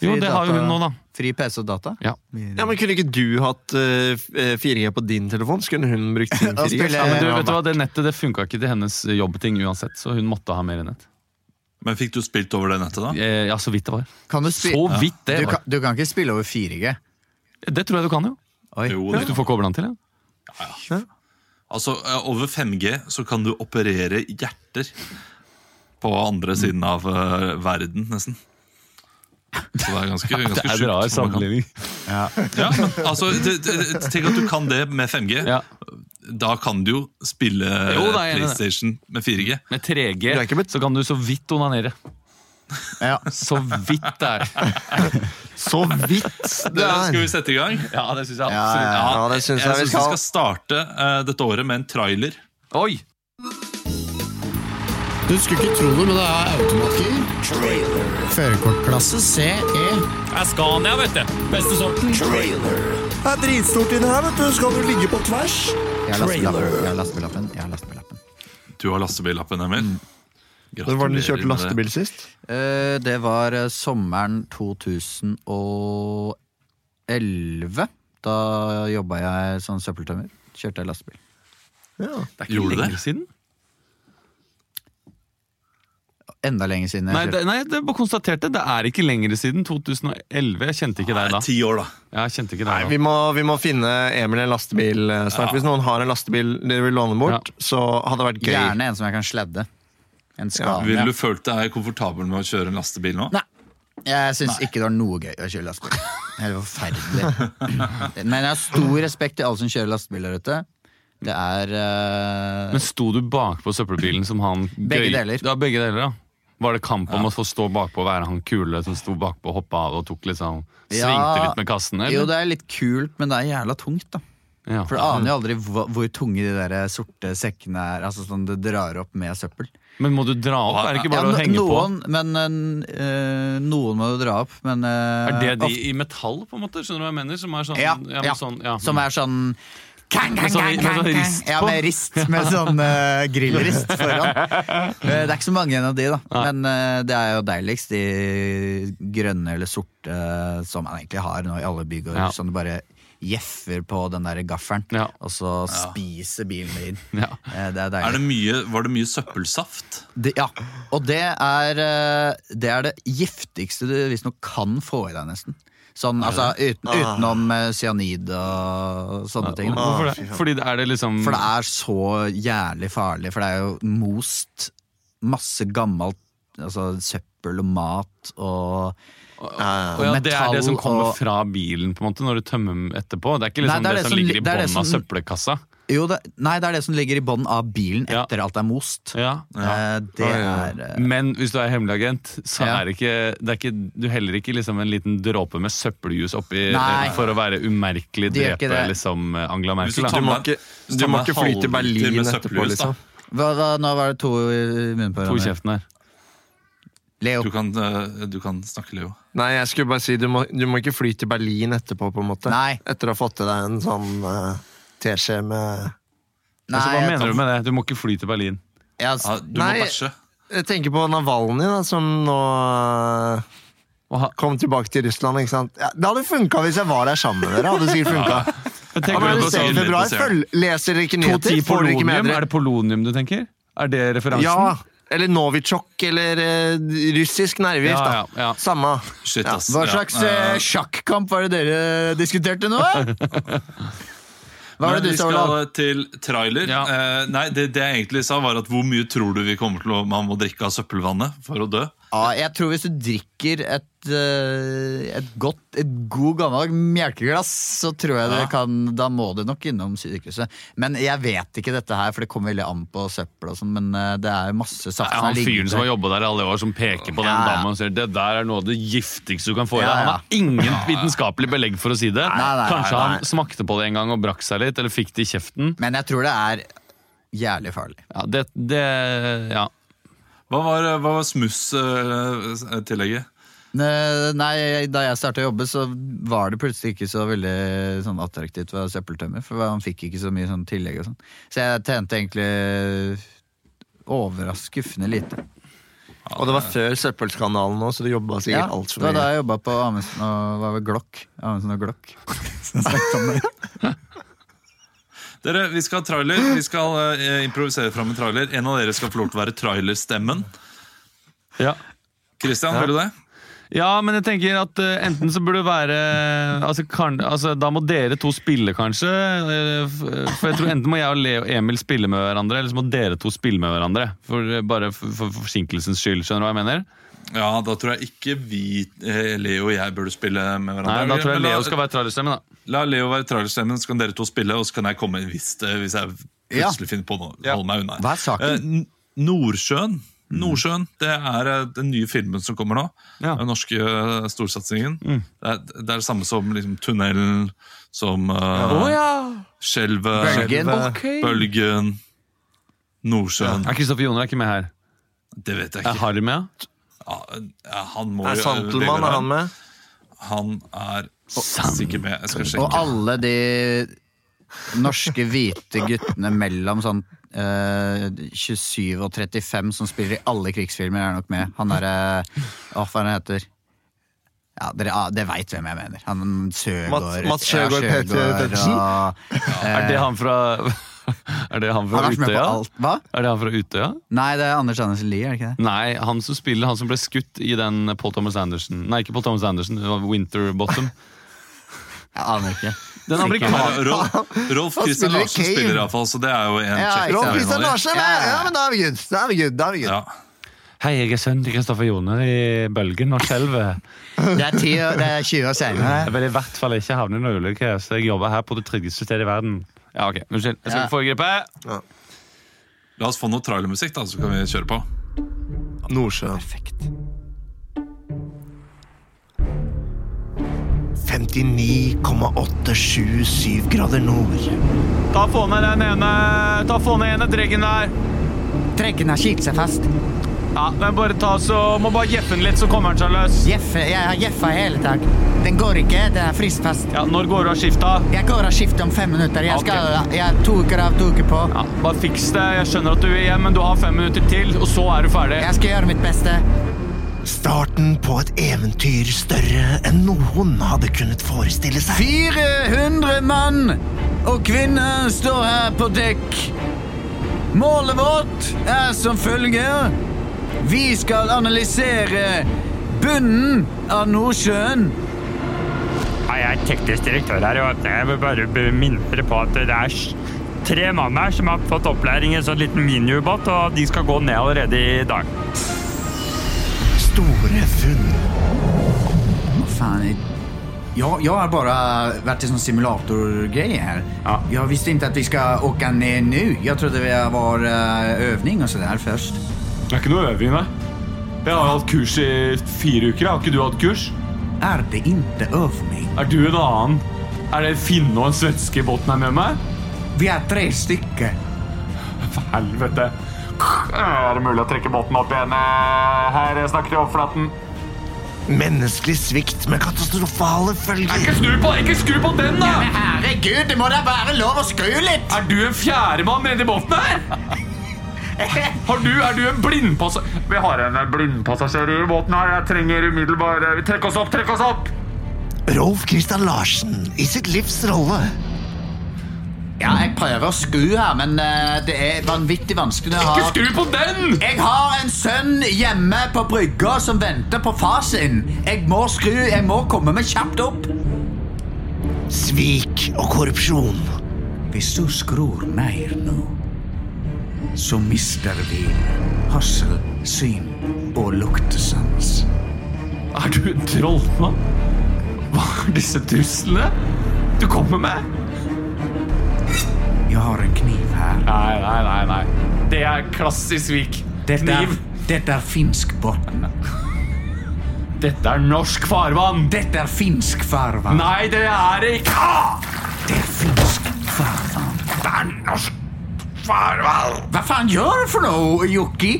Speaker 2: Fri
Speaker 4: Jo, det har jo
Speaker 2: data-
Speaker 4: hun nå, da.
Speaker 2: Fri PC og data?
Speaker 4: Ja.
Speaker 3: Ja, men Kunne ikke du hatt eh, 4G på din telefon? Skulle hun brukt sin
Speaker 2: Da
Speaker 3: 4G?
Speaker 2: spiller
Speaker 4: Ja,
Speaker 2: jeg-
Speaker 4: men du, vet du hva, Det nettet det funka ikke til hennes jobbting uansett, så hun måtte ha mer nett.
Speaker 1: Men fikk du spilt over det nettet, da?
Speaker 4: Eh, Ja, så vidt det var.
Speaker 2: Kan du, spi
Speaker 4: Så vidt det
Speaker 2: du,
Speaker 4: var.
Speaker 2: kan, du kan ikke spille over 4G?
Speaker 4: Det tror jeg du kan, jo.
Speaker 2: Oi.
Speaker 1: Jo,
Speaker 4: Hvis du
Speaker 1: det.
Speaker 4: får kobla den til. Ja.
Speaker 1: Altså, eh, Over 5G så kan du operere hjerter på andre siden av eh, verden, nesten. Så det er ganske,
Speaker 4: Det
Speaker 1: ganske
Speaker 4: er
Speaker 1: sjukt.
Speaker 4: bra
Speaker 1: hvordan man kan-
Speaker 4: sammenligning.
Speaker 1: Ja, men altså, det- det- tenk at du kan det med 5G.
Speaker 4: Ja.
Speaker 1: Da kan du jo spille
Speaker 4: Jo, da er jeg enig i det.
Speaker 1: PlayStation med 4G.
Speaker 4: Med
Speaker 3: Du er ikke
Speaker 4: 3G
Speaker 3: med-
Speaker 4: så kan du så vidt onanere.
Speaker 2: Ja.
Speaker 4: Så vidt det er.
Speaker 3: Så vidt! Det
Speaker 1: Dere, Skal
Speaker 3: er.
Speaker 1: vi sette i gang?
Speaker 4: Ja, det syns jeg
Speaker 2: absolutt. Ja,
Speaker 3: ja, det synes jeg vi
Speaker 1: jeg synes vi
Speaker 3: skal.
Speaker 1: skal starte eh, dette året med en trailer.
Speaker 4: Oi!
Speaker 5: Du skulle ikke tro det, men det er automatgir. Førerkortklasse
Speaker 2: E.
Speaker 5: CE.
Speaker 4: Scania, vet du. Beste sorten.
Speaker 6: Det er dritstort inni her, vet du. Skal du ligge på tvers?
Speaker 2: Jeg har lastebillappen. Jeg har lastebillappen. Jeg har lastebillappen.
Speaker 1: Du har lastebillappen, Emil.
Speaker 3: Når var det
Speaker 1: Mm.
Speaker 3: du
Speaker 1: Gratulerer
Speaker 3: kjørte
Speaker 1: med
Speaker 3: lastebil sist?
Speaker 2: Eh, det var eh, sommeren 2011. Da jobba jeg som søppeltømmer. Kjørte jeg lastebil.
Speaker 4: Det er
Speaker 1: Gjorde
Speaker 4: ikke
Speaker 1: du det?
Speaker 4: lenge siden.
Speaker 2: Enda lenger siden jeg
Speaker 4: Nei,
Speaker 2: kjørte.
Speaker 4: det, nei, det bare konstaterte. Det er ikke lenger siden. 2011. Jeg kjente ikke deg
Speaker 1: Nei,
Speaker 4: da.
Speaker 1: ti år, da.
Speaker 4: Ja, Jeg kjente ikke
Speaker 3: Nei,
Speaker 4: deg
Speaker 3: vi
Speaker 4: da.
Speaker 3: må, vi må finne Emil en lastebil eh, snart. Hvis noen har en lastebil dere vil låne bort, så hadde det vært gøy.
Speaker 2: Gjerne en som jeg kan sladde. En Scania.
Speaker 1: Ville du følt deg komfortabel med å kjøre en lastebil nå?
Speaker 2: Nei. Jeg syns ikke det var noe gøy å kjøre lastebil. Det er forferdelig. Men jeg har stor respekt til alle som kjører lastebil der ute. Det er eh,
Speaker 4: Men sånn sto du bakpå søppelbilen som han
Speaker 2: *clears throat* Begge deler.
Speaker 4: Ja, begge deler, ja. Var det kamp om å få stå bakpå og være han kule som sto bakpå og hoppa av og tok litt sånn Svingte
Speaker 2: Ja.
Speaker 4: litt med kassen?
Speaker 2: Jo,
Speaker 4: Eller?
Speaker 2: det er litt kult, men det er jævla tungt, da.
Speaker 4: Ja.
Speaker 2: For du aner jo aldri hvor, hvor tunge de der sorte sekkene er. Altså sånn det drar opp med søppel.
Speaker 4: Men må du dra opp? Er det ikke
Speaker 2: Ja,
Speaker 4: bare å
Speaker 2: no-
Speaker 4: henge
Speaker 2: noen, men eh, noen må jo dra opp, men
Speaker 4: på?
Speaker 2: eh,
Speaker 4: Er det de
Speaker 2: ofte-
Speaker 4: i metall, på en måte? Skjønner du hva jeg mener? Som er sånn,
Speaker 2: ja,
Speaker 4: men
Speaker 2: ja,
Speaker 4: sånn, ja.
Speaker 2: Som er sånn kang,
Speaker 4: Med
Speaker 2: kang,
Speaker 4: sånn-
Speaker 2: kang,
Speaker 4: med
Speaker 2: kang,
Speaker 4: sånn
Speaker 2: kang.
Speaker 4: rist
Speaker 2: Ja,
Speaker 4: på?
Speaker 2: med rist. Med sånn eh, grillrist foran. Eh, det er ikke så mange av de, da. Men eh, det er jo deiligst de grønne eller sorte eh, som man egentlig har nå i alle bygårder.
Speaker 4: Ja.
Speaker 2: Som du bare gjeffer på den der gaffelen,
Speaker 4: Ja.
Speaker 2: og så spiser bilen din.
Speaker 4: Ja.
Speaker 2: Eh, det er deilig.
Speaker 1: Er det mye, var det mye søppelsaft?
Speaker 2: Det, ja, og det er eh, Det er det giftigste du visstnok kan få i deg, nesten. Sånn, altså, uten, utenom
Speaker 4: Ah.
Speaker 2: eh, cyanid og sånne ting. da.
Speaker 4: Hvorfor det? Fordi det er det liksom
Speaker 2: For det er så jævlig farlig, for det er jo most masse gammelt altså, søppel og mat og
Speaker 4: Å ja, Det er det som
Speaker 2: metall
Speaker 4: kommer
Speaker 2: og-
Speaker 4: fra bilen på en måte når du tømmer den etterpå? Det er ikke
Speaker 2: Nei,
Speaker 4: liksom det, som ligger i
Speaker 2: det er det
Speaker 4: bånn av
Speaker 2: som-
Speaker 4: søppelkassa?
Speaker 2: Jo, det, nei, det er det som ligger i bånn av bilen
Speaker 4: Ja.
Speaker 2: etter alt er most.
Speaker 4: Ja.
Speaker 2: Eh, det
Speaker 1: Ja, ja, ja.
Speaker 2: er eh,
Speaker 4: Men hvis du er hemmelig agent, så
Speaker 2: Ja.
Speaker 4: er det ikke, det er ikke Du heller ikke liksom en liten dråpe med søppeljus oppi eh,
Speaker 2: Nei.
Speaker 4: for å være umerkelig
Speaker 2: Det gjør ikke
Speaker 4: drepe
Speaker 2: det.
Speaker 4: liksom Angela
Speaker 1: Hvis du
Speaker 4: Merkel.
Speaker 1: tar
Speaker 4: Da.
Speaker 1: med-
Speaker 4: Du må-
Speaker 1: ikke-
Speaker 4: du
Speaker 1: tar
Speaker 4: må
Speaker 1: med
Speaker 4: ikke fly til
Speaker 1: halvliter
Speaker 3: Berlin
Speaker 1: med
Speaker 3: etterpå,
Speaker 1: søppelhus, da.
Speaker 3: liksom.
Speaker 2: hva, da- Nå var det to i munnen på
Speaker 4: To i
Speaker 2: hverandre.
Speaker 4: kjeften her.
Speaker 2: Leo.
Speaker 1: Du kan, eh, du kan snakke, Leo.
Speaker 3: Nei, jeg skulle bare si du må, du må ikke fly til Berlin etterpå, på en måte.
Speaker 2: Nei.
Speaker 3: Etter å ha fått til deg en sånn eh, teskje med
Speaker 4: Altså, hva
Speaker 2: jeg
Speaker 4: mener
Speaker 2: tar-
Speaker 4: du med det? Du må ikke fly til Berlin.
Speaker 2: Ja,
Speaker 1: Ja,
Speaker 2: s-
Speaker 1: du
Speaker 3: Nei.
Speaker 1: må bæsje.
Speaker 3: Jeg tenker på Navalny, da, som nå eh,
Speaker 4: Og ha-
Speaker 3: kom tilbake til Russland. ikke sant? Ja, det hadde funka hvis jeg var der sammen med dere. hadde det sikkert funket.
Speaker 4: Men tenker
Speaker 3: Han er
Speaker 4: du
Speaker 3: i
Speaker 4: på
Speaker 1: ser
Speaker 3: stedet
Speaker 1: litt
Speaker 4: sånn
Speaker 3: februar,
Speaker 1: på
Speaker 3: følg, leser ikke nyheter,
Speaker 4: 210
Speaker 3: får det ikke med
Speaker 4: polonium? Er
Speaker 3: dere.
Speaker 4: det polonium du tenker? Er det referansen?
Speaker 3: Ja, eller Novitsjok, eller eh, russisk nervegift,
Speaker 4: Ja,
Speaker 3: da.
Speaker 4: ja, ja.
Speaker 3: Samme.
Speaker 1: Shit,
Speaker 3: Ja,
Speaker 1: ass.
Speaker 2: Hva
Speaker 1: Ja,
Speaker 2: slags
Speaker 1: eh,
Speaker 2: eh, sjakkamp var det dere diskuterte nå? Hva var
Speaker 1: men
Speaker 2: det du
Speaker 1: vi
Speaker 2: sa,
Speaker 1: skal
Speaker 2: Olav?
Speaker 1: til trailer.
Speaker 4: Ja.
Speaker 1: Eh, nei, det, det jeg egentlig sa, var at hvor mye tror du vi kommer til å man må drikke av søppelvannet for å dø?
Speaker 2: Ja, jeg tror hvis du drikker et, eh, et godt, et god gammel melkeglass, så tror jeg det
Speaker 1: Ja.
Speaker 2: kan Da må du nok innom sykehuset. Men jeg vet ikke dette her, for det kommer veldig an på søppel og sånn, men eh, det er jo masse saft
Speaker 4: Ja,
Speaker 2: som
Speaker 4: han
Speaker 2: har
Speaker 4: fyren
Speaker 2: ligget
Speaker 4: som har
Speaker 2: der.
Speaker 4: jobba der i alle år, som peker på den
Speaker 2: Ja, ja.
Speaker 4: damen og sier det der er noe av det giftigste du kan få i
Speaker 2: Ja,
Speaker 4: deg. Han
Speaker 2: ja.
Speaker 4: har ingen vitenskapelig belegg for å si det.
Speaker 2: nei, nei,
Speaker 4: Kanskje
Speaker 2: nei.
Speaker 4: han smakte på det en gang og brakk seg litt, eller fikk det i kjeften.
Speaker 2: Men jeg tror det er jævlig farlig.
Speaker 4: Ja, det, det ja.
Speaker 1: Hva var, eh, hva var eh, smuss-tillegget?
Speaker 2: Ne- Eh, Nei, Da jeg starta å jobbe, så var det plutselig ikke så veldig sånn attraktivt å være søppeltømmer. For han fikk ikke så mye sånn tillegg og sånn. Så jeg tjente egentlig overraskende lite.
Speaker 3: Og det var før søppelskandalen nå, så du jobba sikkert
Speaker 2: Ja,
Speaker 3: alt
Speaker 2: det
Speaker 3: altfor
Speaker 2: var da
Speaker 3: mye.
Speaker 2: jeg jobba på Amundsen og var ved Glokk. Amundsen og Glokk.
Speaker 1: Dere, vi skal ha trailer. Vi skal eh, improvisere fram en trailer. En av dere skal få lov til å være trailerstemmen.
Speaker 4: ja.
Speaker 1: Christian, vil du det?
Speaker 4: Ja, men jeg tenker at eh, enten så burde det være altså, kan, altså, Da må dere to spille, kanskje. eh, f- For jeg tror Enten må jeg og Leo Emil spille med hverandre, eller så må dere to spille med hverandre. For, eh, bare for, for forsinkelsens skyld. Skjønner du hva jeg mener?
Speaker 1: Ja, da tror jeg ikke vi, eh, Leo og jeg, burde spille med
Speaker 4: Nei,
Speaker 1: hverandre.
Speaker 4: Da tror jeg
Speaker 1: Men la-
Speaker 4: Leo skal være trallerstemmen, da.
Speaker 1: La Leo være trailerstemmen, så kan dere to spille, og så kan jeg komme inn hvis, eh, hvis jeg plutselig finner på noe. Hold meg unna.
Speaker 2: Hva er saken?
Speaker 1: Eh, N- Nordsjøen. Nordsjøen, Det er eh, den nye filmen som kommer nå.
Speaker 4: Mm. Ja. Mm.
Speaker 1: Den norske eh, storsatsingen. Det, er, det er det samme som liksom, tunnelen, som eh, skjelvet,
Speaker 2: Bølgen.
Speaker 1: bølgen, Nordsjøen.
Speaker 4: Ja, Kristoffer Joner er ikke med her.
Speaker 1: Det vet jeg
Speaker 4: Er
Speaker 1: ikke.
Speaker 4: Harry med? ja?
Speaker 1: Ja, ja, han må
Speaker 3: Er
Speaker 1: jo-
Speaker 3: Santelmann er han med?
Speaker 1: Han er sikkert med. Jeg skal sjekke.
Speaker 2: Og alle de norske hvite guttene mellom sånn eh, 27 og 35 som spiller i alle krigsfilmer, er nok med. Han derre Åh, hva er det han heter? Ja, dere, ah, dere veit hvem jeg mener. Han Søgaard.
Speaker 3: Mats- Mats Søgaard
Speaker 2: ja,
Speaker 3: Petter Pettersen.
Speaker 2: og,
Speaker 4: Er det han fra *laughs* Er det
Speaker 2: han
Speaker 4: han fra
Speaker 2: har vært med på
Speaker 4: Utøya?
Speaker 2: alt. Hva?
Speaker 4: Er det han fra Utøya?
Speaker 2: Nei, det er Anders Andersen Lie, er det ikke det?
Speaker 4: Nei, han som spiller han som ble skutt i den Paul Thomas Anderson Nei, ikke Paul Thomas Anderson, det var Winterbottom.
Speaker 2: Jeg aner ikke.
Speaker 4: Den amerikaner...
Speaker 1: Men Rolf, Rolf
Speaker 3: Han
Speaker 1: Christian
Speaker 3: spiller i
Speaker 1: Larsen
Speaker 3: Cave.
Speaker 1: spiller iallfall, så det er jo en
Speaker 2: Ja,
Speaker 1: check.
Speaker 2: ikke
Speaker 3: Rolf
Speaker 2: sant.
Speaker 3: Christian Larsen er med!
Speaker 2: Ja, ja.
Speaker 3: Ja, men da er vi good. Da er vi good. Da er vi good.
Speaker 1: Ja.
Speaker 4: Hei, jeg er sønnen til Kristoffer Joner i Bølgen og Skjelvet.
Speaker 2: Det er, 10 år- det er 20 år
Speaker 4: Jeg
Speaker 2: senere.
Speaker 4: vil i hvert fall ikke havne i noen ulykke, så jeg jobber her på det tryggeste stedet i verden. Ja, ok. Unnskyld. Jeg skal
Speaker 2: Ja.
Speaker 4: ikke foregripe.
Speaker 1: La oss få noe trailermusikk, da, så kan vi kjøre på.
Speaker 3: Nordsjøen.
Speaker 2: Perfekt.
Speaker 3: 59,877 grader nord.
Speaker 4: Ta få ned den ene Ta få ned ene dreggen der.
Speaker 2: Treggen har kilt seg fast.
Speaker 4: Ja, men bare ta så Må bare jeppe den litt, så kommer den seg løs.
Speaker 2: Jeffe, jeg har jeffa i hele dag. Den går ikke, den er fristfast.
Speaker 4: Ja, Når går du av skifta?
Speaker 2: Jeg går av skiftet om fem minutter. Jeg
Speaker 4: Ok.
Speaker 2: skal, jeg har to uker av, to uker på.
Speaker 4: Ja, bare fiks det. Jeg skjønner at du vil hjem, men du har fem minutter til, og så er du ferdig.
Speaker 2: Jeg skal gjøre mitt beste.
Speaker 3: Starten på et eventyr større enn noen hadde kunnet forestille seg.
Speaker 2: 400 mann og kvinner står her på dekk. Målet vårt er som følger. Vi skal analysere bunnen av Nordsjøen.
Speaker 7: Hei, jeg er teknisk direktør her, og jeg vil bare be- minne dere på at det er s- tre mann her som har fått opplæring i en sånn liten miniubåt, og de skal gå ned allerede i dag.
Speaker 3: Store funn.
Speaker 2: Å faen, jeg Jag, jag har bara varit i sånn sån simulatorgrej här.
Speaker 4: Ja.
Speaker 2: Jag visste inte att vi ska åka ner nu. Jag trodde det var eh, övning och sådär först.
Speaker 4: Det er ikke noe øving, det. Jeg har hatt kurs i fire uker. jeg. Har ikke du hatt kurs?
Speaker 2: Är det inte övning?
Speaker 4: Er du en annen? Er det en finne og en svenske i båten her med meg?
Speaker 2: Vi är tre stycken.
Speaker 4: For helvete. Er det mulig å trekke båten opp igjen? Eh, Her snakker vi overflaten.
Speaker 3: Menneskelig svikt med katastrofale følger.
Speaker 4: Ikke skru på, ikke skru på den, da!
Speaker 2: Herregud, det må da være lov å skru litt!
Speaker 4: Er du en fjerdemann nedi båten her?
Speaker 2: *laughs*
Speaker 4: Har du, er du en blindpassasjer? Vi har en eh, blindpassasjer i båten her. Jeg trenger umiddelbar Trekk oss opp, trekk oss opp!
Speaker 3: Rolf Christian Larsen i sitt livs rolle.
Speaker 2: Ja, jeg prøver å skru her, men eh, det er vanvittig vanskelig å
Speaker 4: Ikke
Speaker 2: ha
Speaker 4: skru på den!
Speaker 2: Jeg har en sønn hjemme på brygga som venter på far sin. Jeg må skru, jeg må komme meg kjapt opp.
Speaker 3: Svik og korrupsjon.
Speaker 2: Hvis du skrur mer nå, så mister vi hørsel, syn og luktesans.
Speaker 4: Er du en trollmann? Hva er disse truslene du kommer med?
Speaker 2: Jeg har en kniv her.
Speaker 4: Nei, nei, nei. nei. Det er klassisk svik.
Speaker 2: Dette er,
Speaker 4: Kniv.
Speaker 2: dette er finsk botn.
Speaker 4: Dette er norsk farvann.
Speaker 2: Dette er finsk farvann.
Speaker 4: Nei, det er det ikke! Ah!
Speaker 2: Det er finsk farvann.
Speaker 4: Det er norsk farvann!
Speaker 2: Hva faen gjør du for noe, Jokki?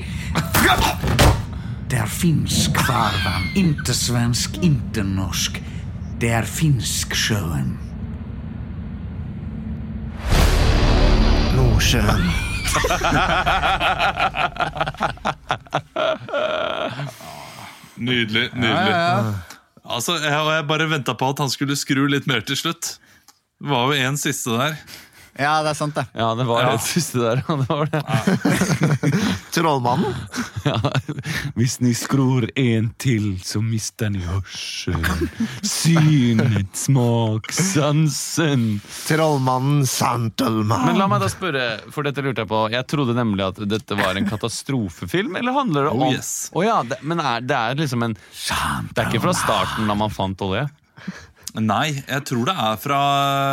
Speaker 2: Det er finsk farvann. Inte svensk, inte norsk. Det er Finnsksjøen.
Speaker 3: Nordsjøen.
Speaker 1: Nydelig. nydelig. Altså, jeg, og jeg bare venta på at han skulle skru litt mer til slutt. Det var jo en siste der.
Speaker 2: Ja, det er sant, det.
Speaker 4: Ja, det var
Speaker 1: Ja.
Speaker 4: det siste der. Det var det.
Speaker 3: Trollmannen.
Speaker 4: Hvis ni skrur en til, så mister ni hørselen, synet, smak, sansen.
Speaker 3: Trollmannen Santelmann.
Speaker 4: Men la meg da spørre, for dette lurte jeg på. Jeg trodde nemlig at dette var en katastrofefilm, eller handler det
Speaker 1: Oh,
Speaker 4: om
Speaker 1: yes.
Speaker 4: Å ja, det, men er, det er liksom en Det er ikke fra starten da man fant olje?
Speaker 1: Nei, jeg tror det er fra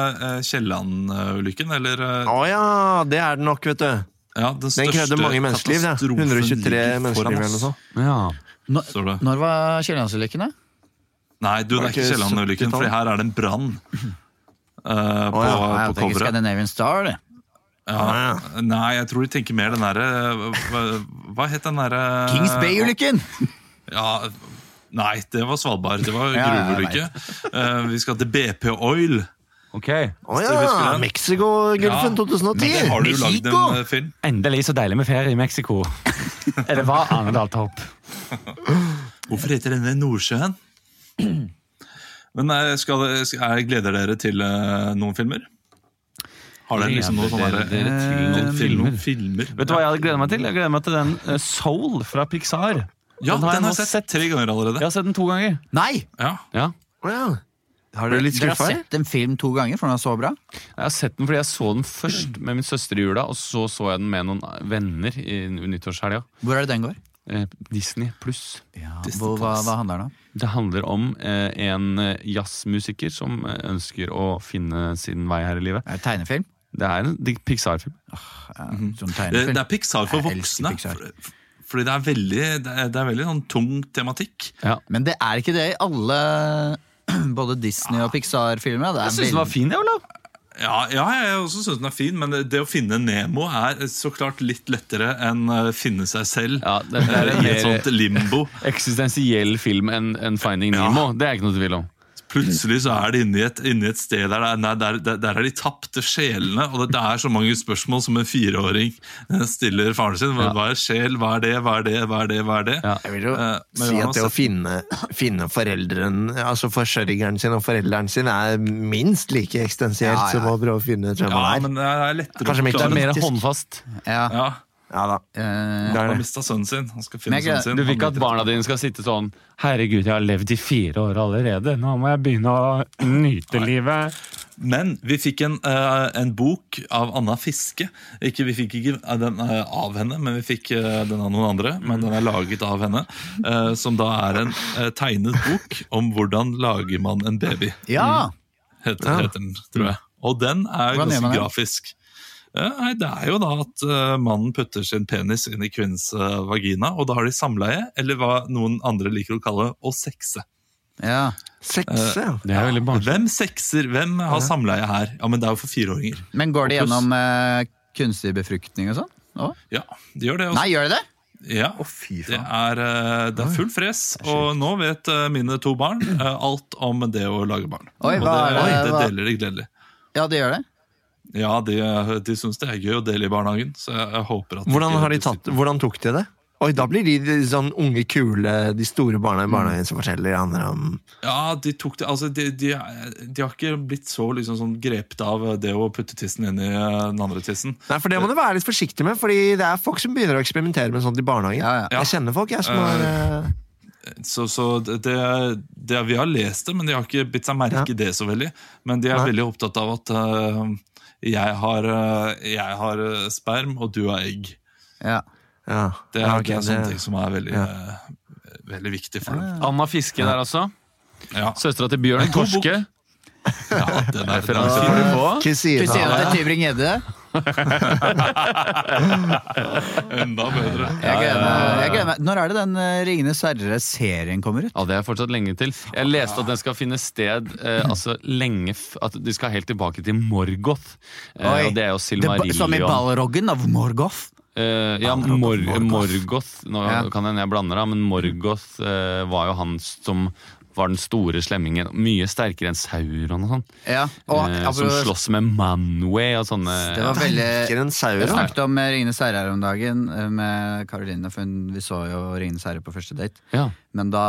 Speaker 1: eh, Kielland-ulykken. Eller eh,
Speaker 3: Å ja, det er det nok, vet du.
Speaker 1: ja, den
Speaker 3: Den
Speaker 1: største
Speaker 3: krevde mange menneskeliv. det.
Speaker 1: katastrofen
Speaker 3: 123
Speaker 1: ligger foran
Speaker 3: menneskeliv eller
Speaker 1: oss.
Speaker 3: noe sånt.
Speaker 4: Ja.
Speaker 1: Står det.
Speaker 2: Når var Kiellandsulykken, da?
Speaker 1: Nei, du, det er
Speaker 3: Var det
Speaker 1: ikke
Speaker 3: ikke
Speaker 1: Kielland-ulykken,
Speaker 3: 70-tallet?
Speaker 1: for her er det en brann. eh, på,
Speaker 3: ja,
Speaker 2: Jeg
Speaker 1: på
Speaker 2: tenker
Speaker 1: coveret.
Speaker 2: Scandinavian Star, det.
Speaker 1: Ja. Nei, jeg tror de tenker mer den derre hva, hva het den derre
Speaker 2: Kings Bay-ulykken!
Speaker 1: Ja, nei, det var Svalbard. Det
Speaker 3: *laughs*
Speaker 1: var
Speaker 2: Ja, ja, jeg
Speaker 1: gruveulykke. Eh, vi skal til BP Oil.
Speaker 4: Ok.
Speaker 1: Så
Speaker 3: Å
Speaker 1: vi
Speaker 3: ja,
Speaker 1: skulle-
Speaker 3: Mexicogolfen
Speaker 1: men det
Speaker 3: 2010.
Speaker 1: har du jo lagd
Speaker 2: Mexico!
Speaker 1: en eh, film.
Speaker 4: Endelig så deilig med ferie i
Speaker 1: *laughs*
Speaker 4: Mexico. Eller hva, Arendal Torp?
Speaker 1: Hvorfor heter denne
Speaker 4: *clears throat*
Speaker 1: Nordsjøen? Men eh, skal, skal, jeg gleder dere til eh, noen filmer? Har dere liksom noen sånne
Speaker 4: Gleder
Speaker 1: der-
Speaker 4: dere til
Speaker 1: noen
Speaker 4: noen
Speaker 1: film-
Speaker 4: filmer?
Speaker 1: noen filmer?
Speaker 4: Vet du hva jeg hadde gledet meg til? Jeg gleder meg til den eh, Soul fra Pixar.
Speaker 1: Ja, den har jeg
Speaker 4: nå
Speaker 1: sett, tre ganger allerede.
Speaker 4: Jeg har sett den to ganger.
Speaker 2: Nei!
Speaker 1: Ja.
Speaker 4: Ja.
Speaker 3: Å ja. Har du litt
Speaker 2: Dere har
Speaker 3: skuffa? eller?
Speaker 2: sett en film to ganger, for den er så bra.
Speaker 4: Jeg har sett den fordi jeg så den først med min søster i jula, og så så jeg den med noen venner i nyttårshelga.
Speaker 2: Hvor er det den går?
Speaker 4: Eh, Disney pluss.
Speaker 2: Hvor, hva, hva handler den om?
Speaker 4: Det handler om eh, en eh, jazzmusiker som eh, ønsker å finne sin vei her i livet.
Speaker 2: Er det tegnefilm?
Speaker 4: Det er en di- Pixar-film.
Speaker 2: Ja, sånn
Speaker 1: Eh, Det,
Speaker 2: tegnefilm.
Speaker 1: det er Pixar for
Speaker 2: Jeg elsker
Speaker 1: voksne.
Speaker 2: Pixar.
Speaker 1: for- Fordi det er veldig, det er, det er veldig sånn tung tematikk.
Speaker 2: Men det er ikke det i alle *clears throat* både Disney- og Pixar-filmer. Det er
Speaker 4: Jeg syns den var
Speaker 2: veldig-
Speaker 4: fin, jeg, Olav.
Speaker 1: Ja, ja jeg også synes den er fin, men det, det å finne Nemo er så klart litt lettere enn å finne seg selv
Speaker 4: Ja, det, det er
Speaker 1: eh,
Speaker 4: en
Speaker 1: i et
Speaker 4: mer
Speaker 1: sånt limbo.
Speaker 4: eksistensiell film enn enn Finding
Speaker 1: Ja.
Speaker 4: Nemo. Det er ikke noe tvil om.
Speaker 1: Plutselig så er det inni et, inne i et sted der, det er- nei, der, der, der er de tapte sjelene. Og det, det er så mange spørsmål som en fireåring eh, stiller faren sin. Hva,
Speaker 4: Ja.
Speaker 1: hva er sjel? Hva er det? Hva er det? Hva er det? Hva er det?
Speaker 4: Ja.
Speaker 3: Jeg vil jo
Speaker 1: Eh, men
Speaker 3: si
Speaker 1: jeg har
Speaker 3: at det å
Speaker 1: sett-
Speaker 3: finne, finne foreldren, altså forsørgeren sin og forelderen sin, er minst like eksistensielt
Speaker 2: Ja, ja.
Speaker 3: som å prøve å finne
Speaker 1: Ja,
Speaker 3: hvem man er.
Speaker 1: men det er lettere
Speaker 3: Kanskje
Speaker 1: å
Speaker 3: mitt
Speaker 4: Det er
Speaker 1: forklare.
Speaker 4: mer
Speaker 3: Faktisk.
Speaker 4: håndfast.
Speaker 2: Ja.
Speaker 1: Ja.
Speaker 6: Ja da.
Speaker 2: Eh,
Speaker 1: Han har mista sønnen sin. Han skal finne
Speaker 2: Men jeg-
Speaker 1: sønnen sin.
Speaker 4: Du vil ikke
Speaker 1: Han
Speaker 4: at
Speaker 1: blir
Speaker 4: barna dine skal sitte sånn Herregud, jeg har levd i fire år allerede. Nå må jeg begynne å nyte livet.
Speaker 1: Men vi fikk en, eh, en bok av Anna Fiske. Ikke, vi fikk ikke eh, den eh, av henne, men vi fikk eh, den av noen andre. Men den er laget av henne. eh, som da er en eh, tegnet bok om hvordan lager man en baby.
Speaker 2: ja!
Speaker 1: Heter, heter den, tror jeg. Og den er
Speaker 2: Hvordan gjør man
Speaker 1: ganske
Speaker 2: det?
Speaker 1: grafisk. Eh, nei, det er jo da at eh, mannen putter sin penis inn i kvinnens eh, vagina, og da har de samleie, eller hva noen andre liker å kalle å sekse.
Speaker 2: ja.
Speaker 1: Eh,
Speaker 3: Sekse, ja.
Speaker 4: Det er veldig barnslig.
Speaker 1: Hvem sekser? Hvem har samleie her? Ja, men det er jo for fireåringer.
Speaker 2: Men går det
Speaker 1: Og pluss-
Speaker 2: gjennom eh, kunstig befruktning og sånn? Å?
Speaker 1: Ja, de gjør det. også.
Speaker 2: Nei, gjør det det?
Speaker 1: Ja,
Speaker 6: fy
Speaker 1: det er, eh, det er full fres, og nå vet eh, mine to barn eh, alt om det å lage barn.
Speaker 2: Oi,
Speaker 1: og det,
Speaker 2: hva er det-
Speaker 1: det
Speaker 2: hva-
Speaker 1: deler de gledelig.
Speaker 2: Ja, det gjør det.
Speaker 1: Ja, de, eh, de syns det er gøy å dele i barnehagen, så jeg, jeg håper at
Speaker 3: Hvordan,
Speaker 1: ikke-
Speaker 3: har de tatt, hvordan tok de det? Oi, da blir de de sånn unge, kule, de store barna i
Speaker 1: Mm.
Speaker 3: barnehagen som forteller andre om
Speaker 1: Ja, de tok det Altså, de, de, de har ikke blitt så liksom sånn grepet av det å putte tissen inn i eh, den andre tissen.
Speaker 3: Nei, for det må du være litt forsiktig med, fordi det er folk som begynner å eksperimentere med sånt i barnehagen.
Speaker 2: Ja, ja.
Speaker 3: Jeg kjenner folk, jeg, som har eh,
Speaker 1: Så, så det, det, vi har lest det, men de har ikke bitt seg merke i det så veldig. Men de er
Speaker 3: Nei.
Speaker 1: veldig opptatt av at eh, jeg, har, eh, jeg har eh, sperm, og du har egg.
Speaker 2: Ja.
Speaker 3: ja.
Speaker 1: Det er,
Speaker 3: Ja,
Speaker 1: det
Speaker 3: ok,
Speaker 1: er sånne
Speaker 3: det-
Speaker 1: ting som er veldig, eh, veldig viktig for dem.
Speaker 4: Anna Fiske der også.
Speaker 1: Ja,
Speaker 4: Søstera til Bjørn
Speaker 1: En god
Speaker 4: Torske.
Speaker 1: ja den
Speaker 4: *laughs*
Speaker 1: er, den
Speaker 4: Referanse
Speaker 1: er
Speaker 4: får du
Speaker 1: fin.
Speaker 4: få.
Speaker 3: Kristina.
Speaker 2: Kristina til Tybring-Gjedde.
Speaker 1: Enda bedre.
Speaker 2: Jeg gleder meg- jeg gleder meg. Når er det den eh, Ringenes herre-serien kommer ut?
Speaker 4: Ja, Det er fortsatt lenge til. Jeg leste at den skal finne sted
Speaker 2: *clears throat*
Speaker 4: eh, altså lenge f At de skal helt tilbake til Morgoth. Eh,
Speaker 2: Oi.
Speaker 4: og det er jo
Speaker 2: Det ba-
Speaker 4: Silmarillion.
Speaker 2: som i Balroggen av Morgoth?
Speaker 4: Eh, ja, Mor Morgoth Nå
Speaker 2: Ja.
Speaker 4: kan hende jeg blander, da, men Morgoth eh, var jo han som var den store slemmingen. Mye sterkere enn Sauron og sånn.
Speaker 2: Ja. Og, altså-
Speaker 4: eh,
Speaker 2: apropos-
Speaker 4: som slåss med Manway og sånne
Speaker 2: Det var veldig
Speaker 3: Ikke en sauer,
Speaker 2: Jeg
Speaker 3: da.
Speaker 2: snakket om eh, Ringenes herre her om dagen eh, med Karoline, for hun, vi så jo Ringenes herre på første date.
Speaker 4: ja.
Speaker 2: Men da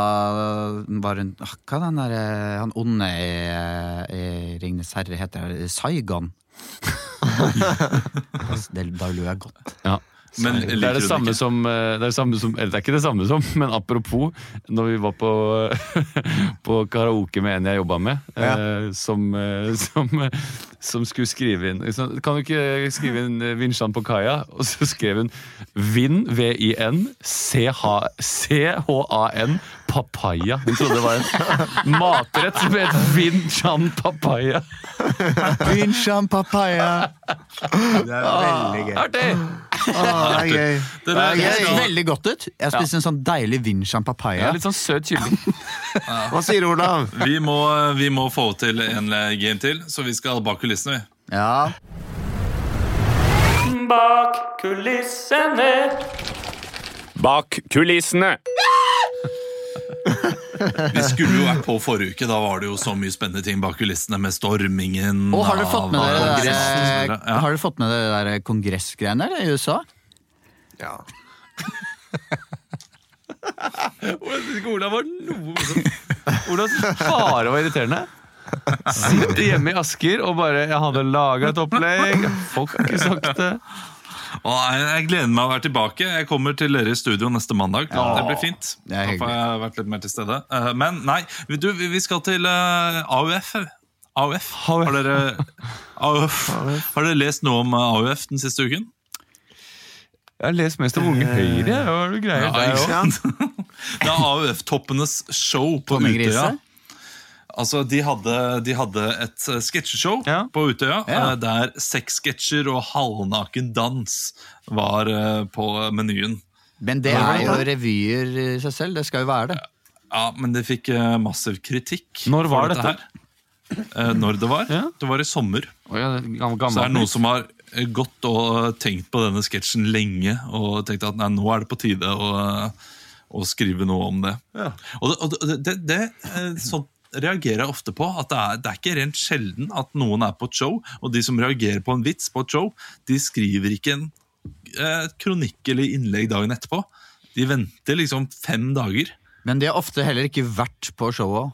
Speaker 2: var hun ah, Hva den der, eh, han onde i, eh, i Ringenes herre heter? det?
Speaker 4: *laughs*
Speaker 2: Saigon? det, da lo jeg godt.
Speaker 4: ja.
Speaker 1: Men
Speaker 4: Det
Speaker 1: liker
Speaker 4: er det,
Speaker 1: hun
Speaker 4: samme
Speaker 1: ikke?
Speaker 4: som, eh, det er det samme som Eller det er ikke det samme som, *laughs* men apropos Når vi var på, *laughs* på karaoke med en jeg jobba med, eh, som, eh, som, eh, som skulle skrive inn liksom, Kan du ikke skrive inn eh, Vinsjan på kaia? Og så skrev hun Vin, V-I-N, C-H- C-H-A-N, papaya. Hun trodde det var en *laughs* matrett som het Vinsjan papaya.
Speaker 2: Vinsjan papaya!
Speaker 6: Det er veldig gøy.
Speaker 4: Artig!
Speaker 3: Å, det er gøy.
Speaker 1: Det
Speaker 2: Det
Speaker 1: der,
Speaker 2: høres
Speaker 1: skal,
Speaker 2: veldig godt ut. Jeg spiste en sånn deilig vinsjan papaya.
Speaker 4: Ja, litt sånn søt kylling.
Speaker 3: Hva sier Olav?
Speaker 1: vi, må, vi må få til en eh, game til, så vi skal bak kulissene, vi.
Speaker 2: Ja.
Speaker 8: Bak kulissene. Bak kulissene.
Speaker 1: Vi skulle jo vært på forrige uke, da var det jo så mye spennende ting bak kulissene med stormingen
Speaker 2: Og har dere fått med
Speaker 1: av
Speaker 2: dere det
Speaker 1: Kongressen og så
Speaker 2: der, eh,
Speaker 1: videre. Ja.
Speaker 2: har dere fått med dere det der eh, kongressgreiene der i USA?
Speaker 3: Ja.
Speaker 4: Olav var noe morsom. Olav bare var irriterende. Sitter hjemme i Asker og bare Jeg hadde laga et opplegg. Folk har ikke sagt det.
Speaker 1: Og jeg, jeg gleder meg å være tilbake. Jeg kommer til dere i studio neste mandag. Det blir fint.
Speaker 2: Det er
Speaker 1: Da får jeg vært litt mer til stede. Eh, Men nei, vi- du, vi vi skal til eh, AUF. AUF. Har dere,
Speaker 2: *laughs*
Speaker 1: AUF. Har dere lest noe om eh, AUF den siste uken?
Speaker 4: Jeg har lest mest om Unge Høyre. jeg. Hva er det du greier der også?
Speaker 1: Ja, ikke sant? *laughs* Det er AUF-toppenes show på
Speaker 2: Tommy
Speaker 1: Utøya.
Speaker 2: Grise?
Speaker 1: Altså, de hadde, de hadde et eh, sketsjeshow
Speaker 4: Ja.
Speaker 1: på Utøya
Speaker 2: Ja.
Speaker 1: eh, der sexsketsjer og halvnaken dans var eh, på menyen.
Speaker 2: Men det er jo revyer i seg selv. Det skal jo være det.
Speaker 1: Ja, men det fikk eh, massiv kritikk.
Speaker 4: Når
Speaker 1: for
Speaker 4: var dette?
Speaker 1: her. Eh, Når det var?
Speaker 4: Ja.
Speaker 1: Det var i sommer.
Speaker 4: Å ja, det
Speaker 1: Så er
Speaker 4: er gam-
Speaker 1: det
Speaker 4: gammel.
Speaker 1: noen som har eh, gått og tenkt på denne sketsjen lenge og tenkt at nei, nå er det på tide å, eh, å skrive noe om det. Og, det, og det, det, det eh, sånn reagerer jeg ofte på. at det er, det er ikke rent sjelden at noen er på et show, og de som reagerer på en vits på et show, de skriver ikke en eh, kronikk eller innlegg dagen etterpå. De venter liksom fem dager.
Speaker 2: Men de har ofte heller ikke vært på showet.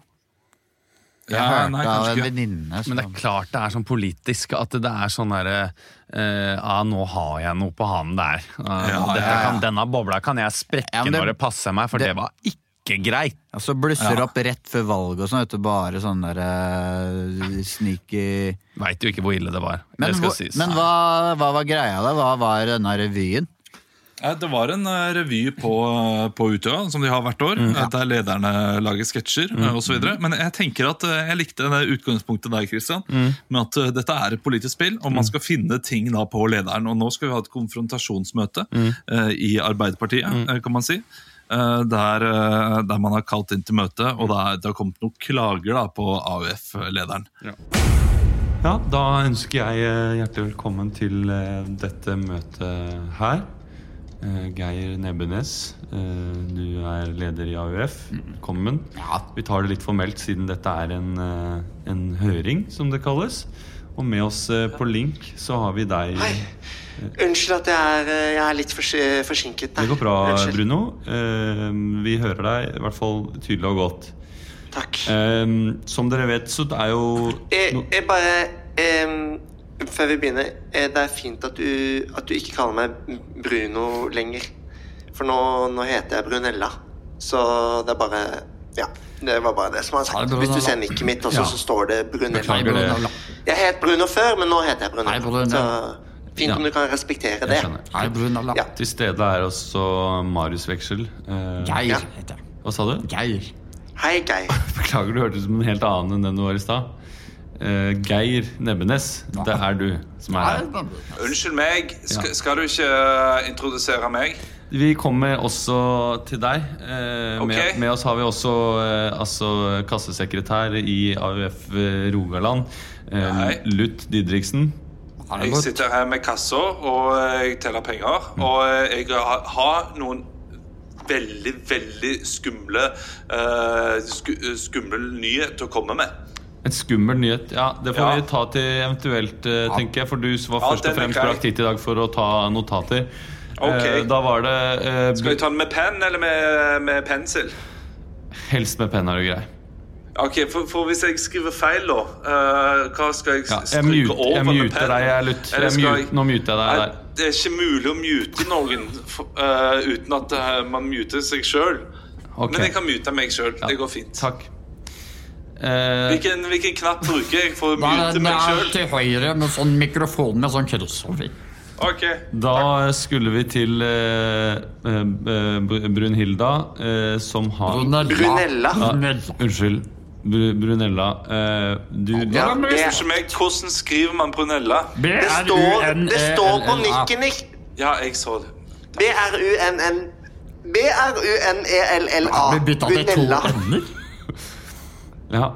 Speaker 7: Ja,
Speaker 2: hørte
Speaker 7: nei,
Speaker 2: av
Speaker 7: kanskje
Speaker 2: en
Speaker 7: ikke.
Speaker 2: venninne
Speaker 1: Men det er
Speaker 2: som-
Speaker 1: klart det er sånn politisk at det er sånn derre eh, ah, nå har jeg noe på hanen der. Ah,
Speaker 7: Ja,
Speaker 1: dette
Speaker 7: ja, ja.
Speaker 1: Kan, denne bobla kan jeg sprekke
Speaker 2: Ja, men det-
Speaker 1: når det passer meg, for det,
Speaker 2: det-
Speaker 1: var ikke greit.
Speaker 2: Ja, så blusser det opp rett før valget og sånn, vet du. Bare sånn der eh, sneaky
Speaker 1: Veit jo ikke hvor ille det var.
Speaker 2: Men,
Speaker 1: det skal
Speaker 2: hvor-
Speaker 1: sies.
Speaker 2: men hva, hva var greia da? Hva var denne revyen?
Speaker 7: Eh, Det var en eh, revy på, eh, på Utøya, som de har hvert år. eh, Der lederne lager sketsjer eh, og så osv. Men jeg tenker at eh, jeg likte det utgangspunktet der, Christian. Med at eh, dette er et politisk spill, og man skal finne ting da på lederen. Og nå skal vi ha et konfrontasjonsmøte eh, i Arbeiderpartiet, eh, kan man si. eh, Der, eh, der man har kalt inn til møte, og det, er, det har kommet noen klager da, på AUF-lederen.
Speaker 4: Ja, da ønsker jeg eh, hjertelig velkommen til eh, dette møtet her. Eh, Geir Nebbenes, eh, du er leder i AUF. Velkommen. Vi tar det litt formelt siden dette er en, eh, en høring, som det kalles. Og med oss eh, på link så har vi deg.
Speaker 9: Unnskyld at jeg er, eh, jeg er litt forsi forsinket.
Speaker 4: Det går bra,
Speaker 9: Unnskyld.
Speaker 4: Bruno. Eh, Vi hører deg i hvert fall tydelig og godt.
Speaker 9: Takk.
Speaker 4: Eh, Som dere vet, så er jo
Speaker 9: Jeg,
Speaker 4: no-
Speaker 9: jeg eh, bare em, Før vi begynner, eh, det er fint at du, at du ikke kaller meg Bruno lenger. For nå, nå heter jeg Brunella. Så det er bare Ja. Det var bare det som var sagt. Hvis du ser nikket mitt, også, så står det Brunella.
Speaker 4: Beklager det.
Speaker 9: Jeg het Bruno før, men nå heter jeg Brunella.
Speaker 2: Hei, Brunella.
Speaker 9: Så fint om
Speaker 4: Ja.
Speaker 9: du kan respektere
Speaker 4: Jeg
Speaker 9: det.
Speaker 4: skjønner.
Speaker 2: Hei, Brunalla.
Speaker 9: Ja.
Speaker 4: Til stede er også Marius Veksel. Eh,
Speaker 2: Geir
Speaker 9: Ja.
Speaker 2: heter jeg.
Speaker 4: Hva sa du?
Speaker 2: Geir.
Speaker 9: Hei, Geir.
Speaker 4: Beklager, du hørtes ut som en helt annen enn den du var i stad. Eh, Geir Nebbenes, det er du som er her.
Speaker 7: Unnskyld meg,
Speaker 4: Sk-
Speaker 7: skal du ikke eh, introdusere meg?
Speaker 4: Vi kommer også til deg. Eh,
Speaker 7: Ok.
Speaker 4: med, med oss har vi også eh, altså, kassesekretær i AUF Rogaland, eh,
Speaker 7: Hei.
Speaker 4: Lutt Didriksen.
Speaker 7: Jeg sitter her med kassa, og eh, jeg teller penger.
Speaker 4: Mm.
Speaker 7: Og eh, jeg ha- har noen veldig, veldig skumle eh, sku, eh, Skummel nyhet å komme med.
Speaker 4: En skummel nyhet. Ja, Det får
Speaker 7: Ja.
Speaker 4: vi ta til eventuelt, eh, tenker jeg. For du var
Speaker 7: Ja,
Speaker 4: først
Speaker 7: den
Speaker 4: og
Speaker 7: er
Speaker 4: fremst
Speaker 7: grei.
Speaker 4: brakt hit i dag for å ta notater.
Speaker 7: Ok.
Speaker 4: Eh, Da var det eh,
Speaker 7: Skal jeg ta den med penn eller med, med pensel?
Speaker 4: Helst med penn er du grei.
Speaker 7: Ok, for, for Hvis jeg skriver feil, da, eh, hva skal jeg
Speaker 4: Ja,
Speaker 7: s-
Speaker 4: jeg
Speaker 7: stryke
Speaker 4: mute- jeg
Speaker 7: over med
Speaker 4: muter
Speaker 7: penn?
Speaker 4: deg, jeg, Lutt.
Speaker 7: Eller
Speaker 4: Jeg
Speaker 7: skal
Speaker 4: mute, nå muter jeg deg
Speaker 7: Nei,
Speaker 4: der.
Speaker 7: det er ikke mulig å mute noen for, eh, uten at eh, man muter seg sjøl.
Speaker 4: Ok.
Speaker 7: Men jeg kan mute meg sjøl. Det går fint.
Speaker 4: Takk. Eh,
Speaker 7: Hvilken, hvilken knapp bruker jeg for å mute meg sjøl?
Speaker 2: til høyre med sånn mikrofon med sånn krossover.
Speaker 7: Ok,
Speaker 4: da skulle vi til eh, eh, eh, Br- Brunhilda, eh, som har
Speaker 9: Brunella.
Speaker 4: Unnskyld, Br Brunella. eh, du
Speaker 9: Ja, det er
Speaker 7: Unnskyld meg, hvordan skriver man Brunella?
Speaker 9: Det står, det står på nikken din.
Speaker 7: Ja, jeg så det.
Speaker 9: B-R-U-N-N E B-R-U-N-E-L-L-A. Brunella.
Speaker 4: Ja,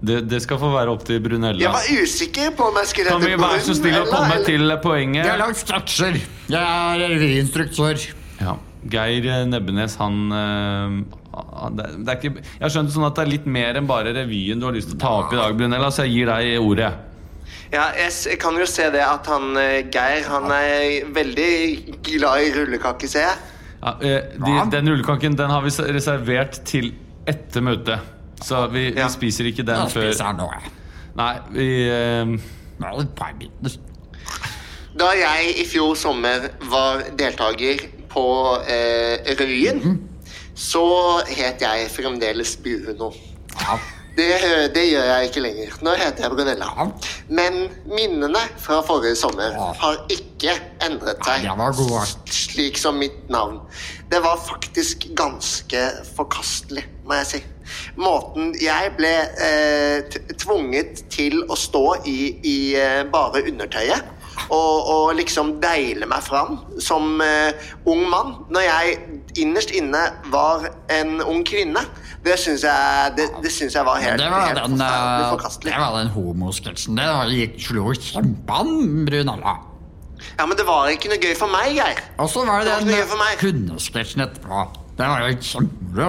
Speaker 4: det, det skal få være opp til
Speaker 9: Jeg
Speaker 4: Brunella.
Speaker 9: var usikker på om jeg skulle
Speaker 4: Kan vi være så snill å komme til poenget?
Speaker 2: lagd sketsjer. Jeg er revyinstruktør.
Speaker 4: Ja. Geir eh, Nebbenes, han eh, han- det, det er ikke, Jeg har skjønt det sånn at det er litt mer enn bare revyen du har lyst til å ta opp i dag, Brunella, så jeg gir deg ordet.
Speaker 9: Ja, jeg s- kan jo se det at han eh, Geir han er veldig glad i rullekake, ser jeg.
Speaker 4: Ja, eh, de, den rullekaken den har vi s- reservert til etter møtet. Så vi,
Speaker 9: Ja.
Speaker 4: vi spiser ikke den før
Speaker 2: nå, jeg.
Speaker 4: Nei, vi eh,
Speaker 2: Bare et par biter.
Speaker 9: Da jeg i fjor sommer var deltaker på eh, revyen, så het jeg fremdeles Bruno. Det, hø- det gjør jeg ikke lenger. Nå heter jeg Brunella. Men minnene fra forrige sommer har ikke endret seg.
Speaker 2: Nei, det var god.
Speaker 9: s- Slik som mitt navn. Det var faktisk ganske forkastelig, må jeg si. Måten jeg ble eh, t- tvunget til å stå i, i eh, bare undertøyet og, og liksom deile meg fram som eh, ung mann, når jeg innerst inne var en ung kvinne, det syns jeg, det, det syns jeg var helt,
Speaker 2: Det var
Speaker 9: helt
Speaker 2: den,
Speaker 9: forferdelig
Speaker 2: eh,
Speaker 9: forkastelig.
Speaker 2: det var den homosketsjen. Det var- gikk- slo kjempean, Brunalla.
Speaker 9: Ja, men det var ikke noe gøy for meg, Geir.
Speaker 2: Og så var det
Speaker 9: Det var
Speaker 2: den
Speaker 9: ikke noe for meg.
Speaker 2: eh, hundesketsjen etterpå. Den var jo kjempebra.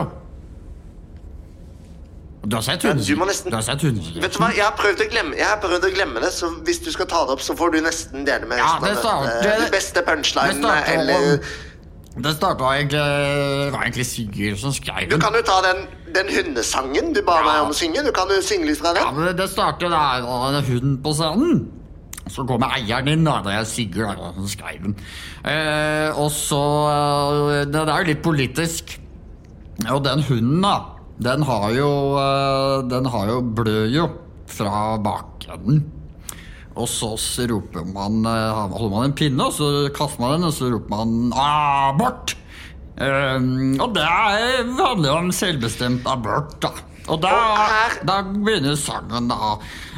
Speaker 2: Du har sett hundes-
Speaker 9: du må nesten-
Speaker 2: du har sett
Speaker 9: Vet du
Speaker 2: hundesketsjen?
Speaker 9: hva, Jeg har prøvd å glemme, jeg har prøvd å glemme det, så hvis du skal ta det opp, så får du nesten dele med
Speaker 2: Ja,
Speaker 9: resten av
Speaker 2: det
Speaker 9: møtet.
Speaker 2: starter-
Speaker 9: De beste
Speaker 2: det
Speaker 9: punchlinene
Speaker 2: starter
Speaker 9: eller
Speaker 2: om- Det starta egentlig Det var egentlig Sigurd som skrev
Speaker 9: Du kan jo ta den, den hundesangen du ba meg om å synge. Du kan jo synge litt fra den.
Speaker 2: Ja, men det starter der, og det er hund på scenen. Så kommer eieren inn, da. Det er Sigurd da, som skrev den. Eh, og så eh, Det er jo litt politisk. Og den hunden, da, den har jo eh, Den har jo blør jo fra bakenden. Og så s- roper man eh, Holder man en pinne, og så kaster man den, og så roper man 'abort'! Eh, og det er- handler jo om selvbestemt abort, da. Og da, da begynner sangen, da.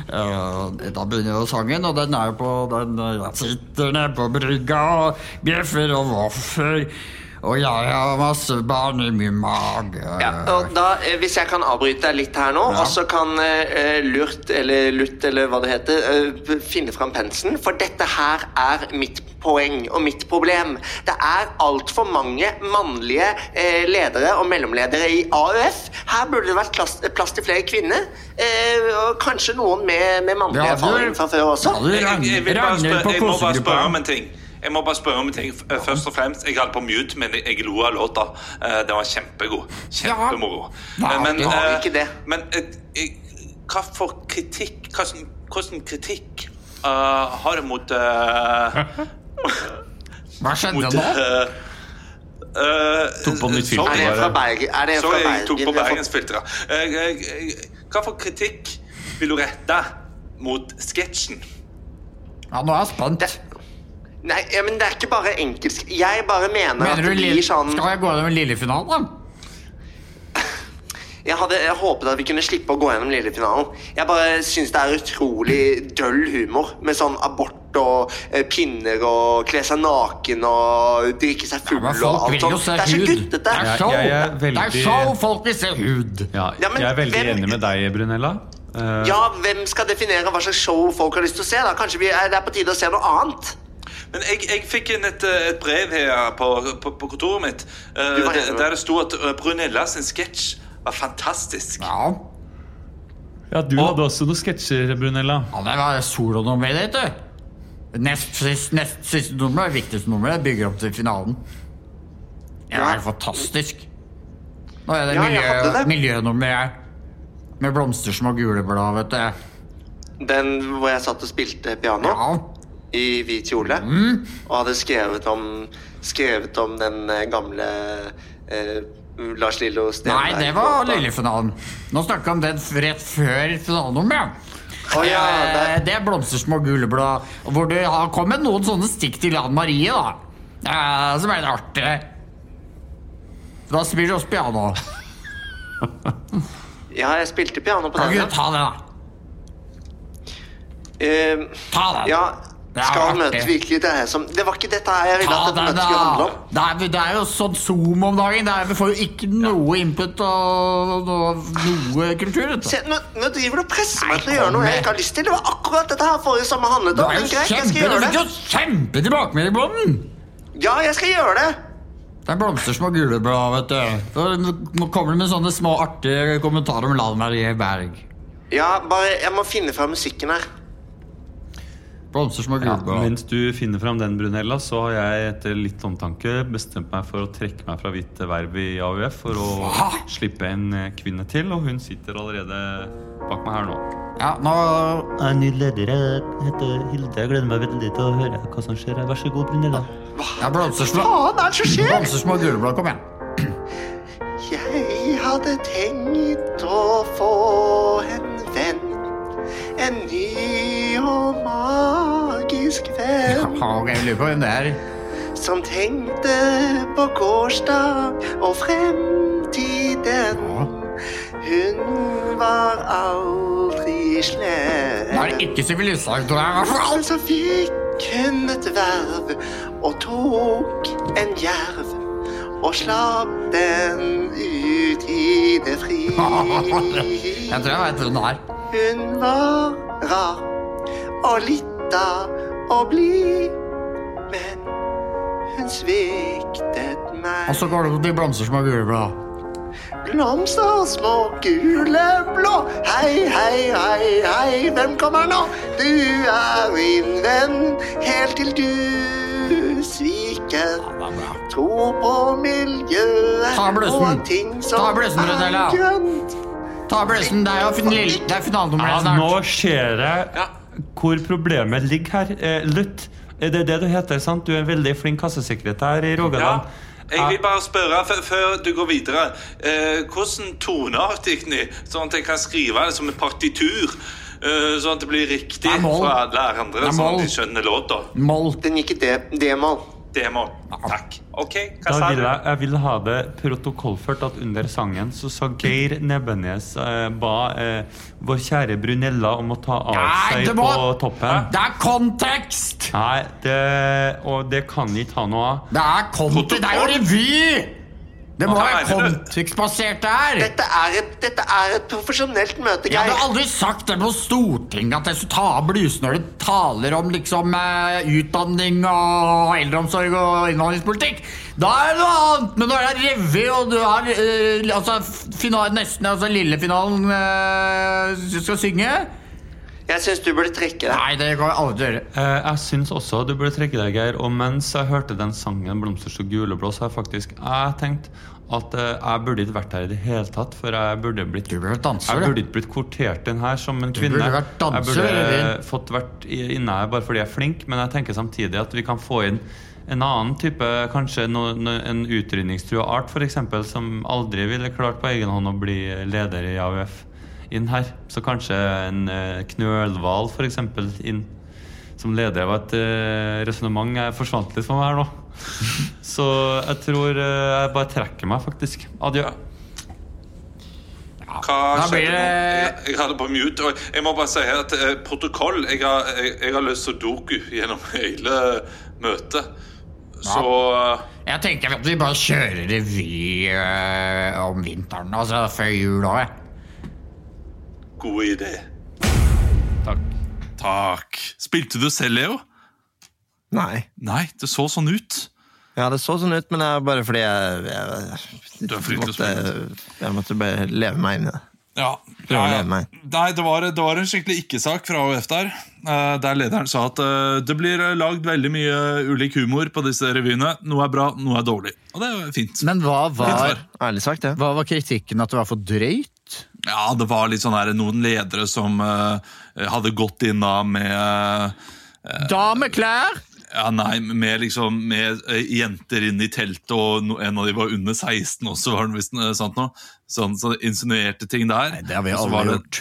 Speaker 2: Eh, da begynner jo sangen, og den er jo på den eh, Jeg sitter nede på brygga og bjeffer og vaffer. Og jeg har masse barn i min mage.
Speaker 9: Og da, eh, Hvis jeg kan avbryte deg litt her nå, og så kan eh, eh, Lurt, eller Lutt, eller hva det heter, eh, p- finne fram pensen. For dette her er mitt poeng og mitt problem. Det er altfor mange mannlige eh, ledere og mellomledere i AUF. Her burde det vært plass, plass til flere kvinner. Eh, og kanskje noen med, med mannlig
Speaker 2: Ja, du-
Speaker 9: erfaring fra før også.
Speaker 7: Jeg, jeg, vil bare spørre, jeg må bare spørre om en ting. Jeg må bare spørre om en ting. F- eh, Først og fremst, jeg hadde på mute, men jeg- jeg lo av låta. Eh, Den var kjempegod. Kjempemoro.
Speaker 9: Ja.
Speaker 7: Eh,
Speaker 9: Ja, det var
Speaker 7: eh,
Speaker 9: ikke det.
Speaker 7: men eh, jeg- hva for kritikk hva, som- Hvordan kritikk eh, har det mot eh,
Speaker 2: Hva skjedde
Speaker 7: mot,
Speaker 2: nå?
Speaker 7: eh, eh,
Speaker 10: Tok på nytt
Speaker 7: sorry.
Speaker 10: filter, Er det fra bare. Bergen? Er det fra
Speaker 7: Sorry, jeg
Speaker 10: Bergen?
Speaker 7: tok på bergensfilteret. Jeg- jeg- jeg- Hva for kritikk vil du rette mot sketsjen?
Speaker 2: Ja, nå er jeg spent.
Speaker 9: Nei, ja, men det er ikke bare enkelt. Jeg bare mener,
Speaker 2: Mener
Speaker 9: at
Speaker 2: du
Speaker 9: det
Speaker 2: Lille-
Speaker 9: blir sånn
Speaker 2: Skal jeg gå gjennom lillefinalen,
Speaker 9: Jeg hadde jeg håpet at vi kunne slippe å gå gjennom lillefinalen. Jeg bare syns det er utrolig døll humor med sånn abort og eh, pinner og kle seg naken og drikke seg full
Speaker 2: da?
Speaker 9: og
Speaker 2: Folk
Speaker 9: alt
Speaker 2: vil jo
Speaker 9: sånt.
Speaker 2: se
Speaker 9: Det er så
Speaker 2: hud.
Speaker 9: guttete.
Speaker 4: Jeg- jeg er veldig-
Speaker 2: Det er show, folk vil se hud.
Speaker 4: Ja,
Speaker 9: Ja, men
Speaker 4: jeg er veldig
Speaker 9: hvem-
Speaker 4: enig med deg, Brunella. Eh,
Speaker 9: Ja, hvem skal definere hva slags show folk har lyst til å se? da? Kanskje vi er, det er på tide å se noe annet?
Speaker 7: Men jeg, jeg fikk inn et, eh, et brev her på, på, på kontoret mitt eh,
Speaker 9: Du, hva
Speaker 7: der,
Speaker 9: heter det?
Speaker 7: der det sto at eh, Brunella sin sketsj var fantastisk.
Speaker 2: Ja.
Speaker 4: ja, du hadde også noen sketsjer, Brunella.
Speaker 2: Ja, det var solonummeret ditt, du. Nest sist- nest siste nummer er viktigste nummeret. Bygger opp til finalen. Det er fantastisk. Nå er det,
Speaker 9: Ja, jeg hadde
Speaker 2: miljø,
Speaker 9: det.
Speaker 2: miljønummeret med blomstersmå gule blad, vet du.
Speaker 9: Den hvor jeg satt og spilte piano i hvit kjole
Speaker 2: Mm.
Speaker 9: og hadde skrevet om, skrevet om den eh, gamle eh, Lars Lillo
Speaker 2: Nei,
Speaker 9: Stenberg.
Speaker 2: det var lillefinalen. Nå snakker vi om den f- rett før finalenummeret.
Speaker 9: Å ja,
Speaker 2: Eh, det er blomstersmå gule blad. Hvor du har kommet noen sånne stikk til Anne Marie, da. Eh, som er litt artig. For da spiller du også piano.
Speaker 9: Ja, jeg spilte piano på
Speaker 2: Kan
Speaker 9: den.
Speaker 2: ikke du ta det, da?
Speaker 9: ta
Speaker 2: den.
Speaker 9: Ehm, Ja,
Speaker 2: Det er
Speaker 9: skal
Speaker 2: artig.
Speaker 9: møte virkelig det her som Det var ikke dette her jeg ville
Speaker 2: Ta
Speaker 9: at dette
Speaker 2: den,
Speaker 9: møtet skulle handle
Speaker 2: da!
Speaker 9: om.
Speaker 2: Det er, det er jo sånn Zoom om dagen. Det er, vi får jo ikke noe input og og noe kultur. vet du.
Speaker 9: Se, nå, nå driver du og presser meg til å gjøre noe jeg ikke har lyst til. Det var akkurat dette her forrige sommer handlet
Speaker 2: Det
Speaker 9: om.
Speaker 2: er
Speaker 9: Men
Speaker 2: jo
Speaker 9: greit, jeg skal
Speaker 2: kjempe, du
Speaker 9: gjøre
Speaker 2: fikk jo
Speaker 9: det.
Speaker 2: kjempe tilbakemelding på den!
Speaker 9: Ja, jeg skal gjøre det.
Speaker 2: Det er blomstersmå gule blad, vet du. For Nå kommer du med sånne små artige kommentarer om Lan Marie Berg.
Speaker 9: Ja, bare Jeg må finne fram musikken her.
Speaker 2: Blomstersmå
Speaker 4: Ja,
Speaker 2: gule blad.
Speaker 4: mens du finner fram den, Brunella, så har jeg etter litt omtanke bestemt meg for å trekke meg fra hvitt verv i AUF for å slippe en eh, kvinne til, og hun sitter allerede bak meg her nå.
Speaker 2: Ja, nå
Speaker 11: Jeg er ny leder. Jeg heter Hilde. Jeg gleder meg veldig til å høre hva som skjer. her. Vær så god, Brunilla.
Speaker 2: Ja, blomstersmå
Speaker 9: Faen, hva er det som skjer?
Speaker 2: Blomstersmå gule blad, kom igjen.
Speaker 9: Jeg hadde tenkt å få en venn. En ny og magisk venn.
Speaker 2: Ja, ok, jeg lurer på hvem det er.
Speaker 9: Som tenkte på gårsdag og fremtiden. Hun var aldri slem.
Speaker 2: Nå er det ikke sivilistautor her, i hvert fall.
Speaker 9: Men så fikk hun et verv og tok en jerv og slapp den ut i det fri.
Speaker 2: Jeg tror jeg vet hvem det er.
Speaker 9: Hun var rar og lita og blid, men hun sviktet meg.
Speaker 2: Og
Speaker 12: Altså-
Speaker 2: så går du til blomstersmå gule blad.
Speaker 9: Blomster små, gule, blå. Hei, hei, hei, hei, hvem kommer nå? Du er min venn, helt til du sviker. tro på miljøet
Speaker 12: Ta blussen.
Speaker 9: og ting som
Speaker 12: Ta blussen, Brunella.
Speaker 9: er grønt.
Speaker 12: Ta blussen, det er jo fin lille- det er finalenummeret
Speaker 4: Ja,
Speaker 12: snart.
Speaker 4: nå ser jeg hvor problemet ligger her. Eh, Lutt, eh, det er det du heter, sant? Du er en veldig flink kassesekretær i Rogaland.
Speaker 1: Jeg vil bare spørre f- før du går videre. Eh, hvordan toneart gikk den i? Sånn at jeg kan skrive det som en partitur. Eh, sånn at det blir riktig
Speaker 9: Det er mål.
Speaker 1: fra alle andre,
Speaker 9: Det er
Speaker 1: sånn at
Speaker 9: mål.
Speaker 1: de skjønner låta.
Speaker 12: Moll.
Speaker 9: Den gikk i D- D-moll.
Speaker 1: D-moll. Takk. OK, hva
Speaker 4: Da
Speaker 1: sa
Speaker 4: vil
Speaker 1: du?
Speaker 4: jeg, jeg vil ha det protokollført at under sangen så sa Geir Nebbenes eh, ba eh, vår kjære Brunella om å ta av
Speaker 12: Nei,
Speaker 4: seg
Speaker 12: det må-
Speaker 4: på toppen.
Speaker 12: Det er kontekst!
Speaker 4: Nei, det, og det kan ikke ha noe av.
Speaker 12: Det er kontekst, det er jo revy! Det må
Speaker 4: Hva
Speaker 12: være
Speaker 4: mener du?
Speaker 12: kontekstbasert der!
Speaker 9: Dette er et, dette er et profesjonelt møte,
Speaker 12: Jeg
Speaker 9: Geir.
Speaker 12: hadde aldri sagt det på Stortinget at jeg skulle ta av blusen når du taler om liksom eh, utdanning og eldreomsorg og innvandringspolitikk. Da er det noe annet, men når det er revy og du har eh, altså, final, nesten altså, lillefinalen eh, du skal synge
Speaker 9: Jeg syns du burde trekke deg.
Speaker 12: Nei, det går aldri til å gjøre.
Speaker 4: Eh, jeg syns også du burde trekke deg, Geir. Og mens jeg hørte den sangen, 'Blomster så guleblå', så har jeg faktisk jeg tenkt at eh, jeg burde ikke vært her i det hele tatt. For jeg burde blitt Jeg
Speaker 12: ja.
Speaker 4: burde ikke blitt kvotert inn her som en
Speaker 12: Du
Speaker 4: kvinne.
Speaker 12: burde vært danser,
Speaker 4: jeg burde
Speaker 12: eller?
Speaker 4: eh, fått vært i- inne her bare fordi jeg er flink, men jeg tenker samtidig at vi kan få inn en annen type, kanskje no, no, en utrydningstrua art f.eks., som aldri ville klart på egen hånd å bli leder i AUF, inn her. Så kanskje en eh, knølhval f.eks. inn som leder. Det var et uh, resonnement jeg forsvant litt for meg her
Speaker 12: *laughs*
Speaker 4: nå. Så jeg tror eh, jeg bare trekker meg, faktisk. Adjø.
Speaker 1: Hva
Speaker 4: Da blir
Speaker 1: skjedde nå? Jeg, jeg hadde på mute. Og jeg må bare si her at eh, protokoll Jeg har, jeg, jeg har løst sudoku gjennom *laughs* hele møtet. Så eh,
Speaker 12: Jeg tenker at vi bare kjører revy eh, om vinteren, altså før jul òg.
Speaker 1: God idé. Takk. Takk. Spilte du selv, Leo?
Speaker 3: Nei.
Speaker 1: Nei, det så sånn ut.
Speaker 3: Ja, det så sånn ut, men det er bare fordi jeg, jeg,
Speaker 1: Du er
Speaker 3: jeg,
Speaker 1: flink til å
Speaker 3: måtte, jeg måtte bare leve meg inn i det.
Speaker 1: Ja.
Speaker 3: Prøve å leve meg inn.
Speaker 1: Nei, det var, det var en skikkelig ikke-sak fra AUF der. eh, Der lederen sa at eh, det blir eh, lagd veldig mye ulik humor på disse revyene. Noe er bra, noe er dårlig. Og det er jo fint.
Speaker 2: Men hva
Speaker 1: Fint
Speaker 2: var,
Speaker 1: svar.
Speaker 2: hva var kritikken? At det var for drøyt?
Speaker 1: Ja, det var litt sånn her, noen ledere som eh, hadde gått inn da med eh,
Speaker 2: Dameklær!
Speaker 1: Ja, nei, med liksom Med eh, jenter inn i teltet, og no, en av de var under 16 også, var det visst eh, sant nå? Sånn, så insinuerte ting der. Nei,
Speaker 2: det har vi aldri
Speaker 1: gjort.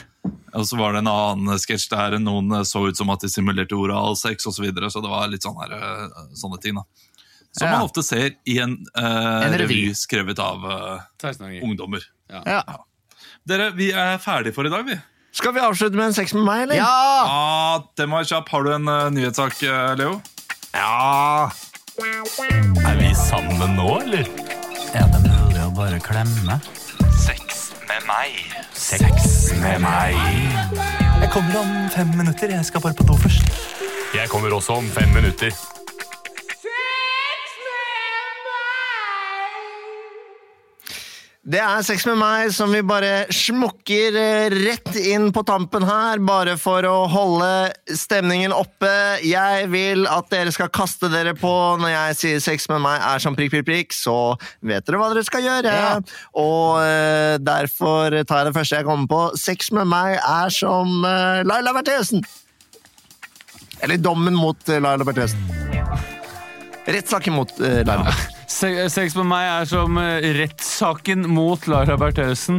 Speaker 1: Og så var det en annen sketsj der noen eh, så ut som at de simulerte oralsex osv. Så, videre, så det var litt sånn her, eh, sånne ting, da. Som
Speaker 2: Ja.
Speaker 1: man ofte ser i en, eh,
Speaker 2: En revy.
Speaker 1: revy skrevet av eh,
Speaker 13: Tegnsanger.
Speaker 1: ungdommer.
Speaker 2: Ja.
Speaker 1: Dere, vi er ferdige for i dag, vi.
Speaker 3: Skal vi avslutte med en sex med meg, eller?
Speaker 1: Ah, den var kjapp. Har du en eh, nyhetssak, eh, Leo?
Speaker 3: Ja!
Speaker 1: Er vi sammen nå, eller?
Speaker 14: Er det mulig å bare klemme?
Speaker 15: Sex med meg.
Speaker 14: Sex med meg.
Speaker 15: Jeg kommer om fem minutter. Jeg skal bare på do først.
Speaker 13: Jeg kommer også om fem minutter.
Speaker 3: Det er Sex med meg som vi bare smukker eh, rett inn på tampen her, bare for å holde stemningen oppe. Jeg vil at dere skal kaste dere på når jeg sier sex med meg er som prikk, prikk, prikk, så vet dere hva dere skal gjøre. Og eh, derfor tar jeg det første jeg kommer på. Sex med meg er som eh, Laila Bertheussen. Eller dommen mot eh, Laila Bertheussen. Rettssak imot eh, Laila.
Speaker 16: Se- Sex med meg er som eh, rettssaken mot Lara Bertheussen.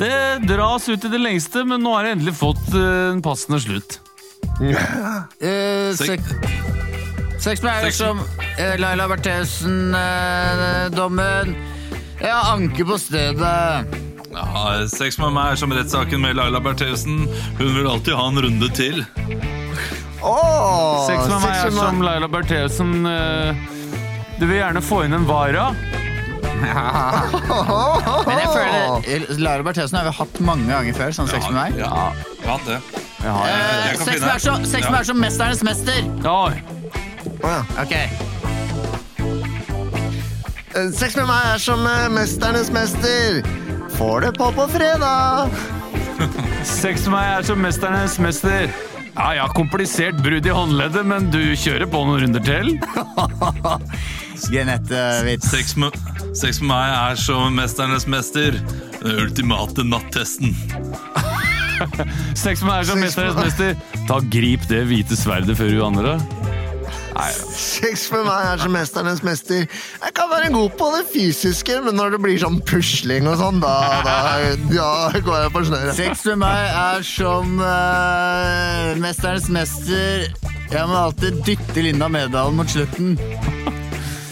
Speaker 16: Det dras ut i det lengste, men nå har jeg endelig fått eh, en passende slutt.
Speaker 2: Eh,
Speaker 16: Sek-
Speaker 2: sek- Sex med eier
Speaker 16: Sex-
Speaker 2: som eh, Laila eh, Bertheussen-dommen. Jeg har anke på stedet.
Speaker 1: Ja, sex med meg er som rettssaken med Laila Bertheussen. Hun vil alltid ha en runde til.
Speaker 3: Åh,
Speaker 16: Sex med meg
Speaker 3: sex
Speaker 16: er
Speaker 3: med
Speaker 16: som
Speaker 3: meg.
Speaker 16: Laila Bertheussen. eh, Du vil gjerne få inn en vara.
Speaker 2: Men jeg føler eh, Laila Bertheussen har vi hatt mange ganger før, sånn sex med meg.
Speaker 1: Ja, vant det.
Speaker 2: Eh, Sex med er som- sex med er som Mesternes mester. Ok.
Speaker 3: Eh, Sex med meg er som eh, Mesternes mester. Får det på på fredag.
Speaker 16: Sex med meg er som Mesternes mester. Ja, ja, komplisert brudd i håndleddet, men du kjører på noen runder til?
Speaker 2: Genette-vits.
Speaker 1: Sex, med- sex med meg er som Mesternes mester. Den ultimate nattesten.
Speaker 4: Sex med meg er som mesternes mester. Ta Grip det hvite sverdet før du andre. Nei,
Speaker 3: Sex for meg er som mesternes mester. Jeg kan være god på det fysiske, men når det blir sånn pusling og sånn, da, da, da går jeg på snøret.
Speaker 2: Sex med meg er som eh, Mesterens mester. Jeg må alltid dytte Linda Medalen mot slutten.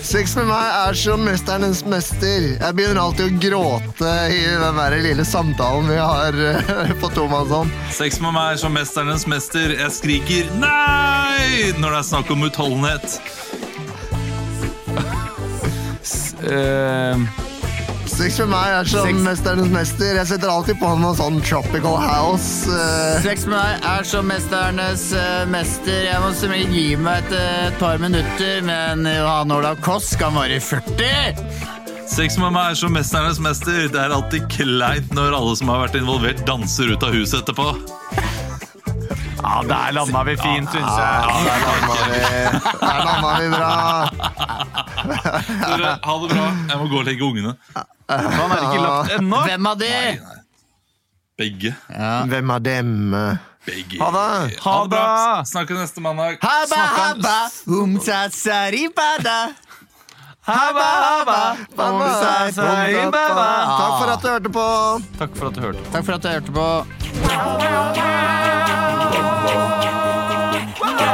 Speaker 3: Sex med meg er som mesternes mester. Jeg begynner alltid å gråte i den der lille samtalen vi har eh, på tomannshånd.
Speaker 1: Sex med meg er som Mesternes mester. Jeg skriker nei når det er snakk om utholdenhet.
Speaker 3: Sex med meg er som mesternes mester. Jeg setter alltid på noe sånn tropical house. eh.
Speaker 2: Sex med meg er som Mesternes eh, mester. Jeg må som regel gi meg et eh, par minutter, men Johan Olav Koss kan være 40!
Speaker 1: Sex med meg er som Mesternes mester. Det er alltid kleint når alle som har vært involvert, danser ut av huset etterpå.
Speaker 4: Ja, der landa vi fint, syns jeg.
Speaker 3: *laughs* Der landa vi bra.
Speaker 1: Dere, ha det bra. Jeg må gå og legge ungene.
Speaker 4: Han er ikke lagt ennå.
Speaker 2: Hvem av de?
Speaker 1: Begge.
Speaker 3: Hvem av dem?
Speaker 1: Begge.
Speaker 3: Ha det!
Speaker 1: Ha det bra. Snakkes neste mandag.
Speaker 2: Habba, habba, umsatsaribada. Habba, habba, umsatsaribada.
Speaker 3: Takk for at du hørte på.
Speaker 4: Takk for at du hørte på.
Speaker 2: Takk for at du hørte på.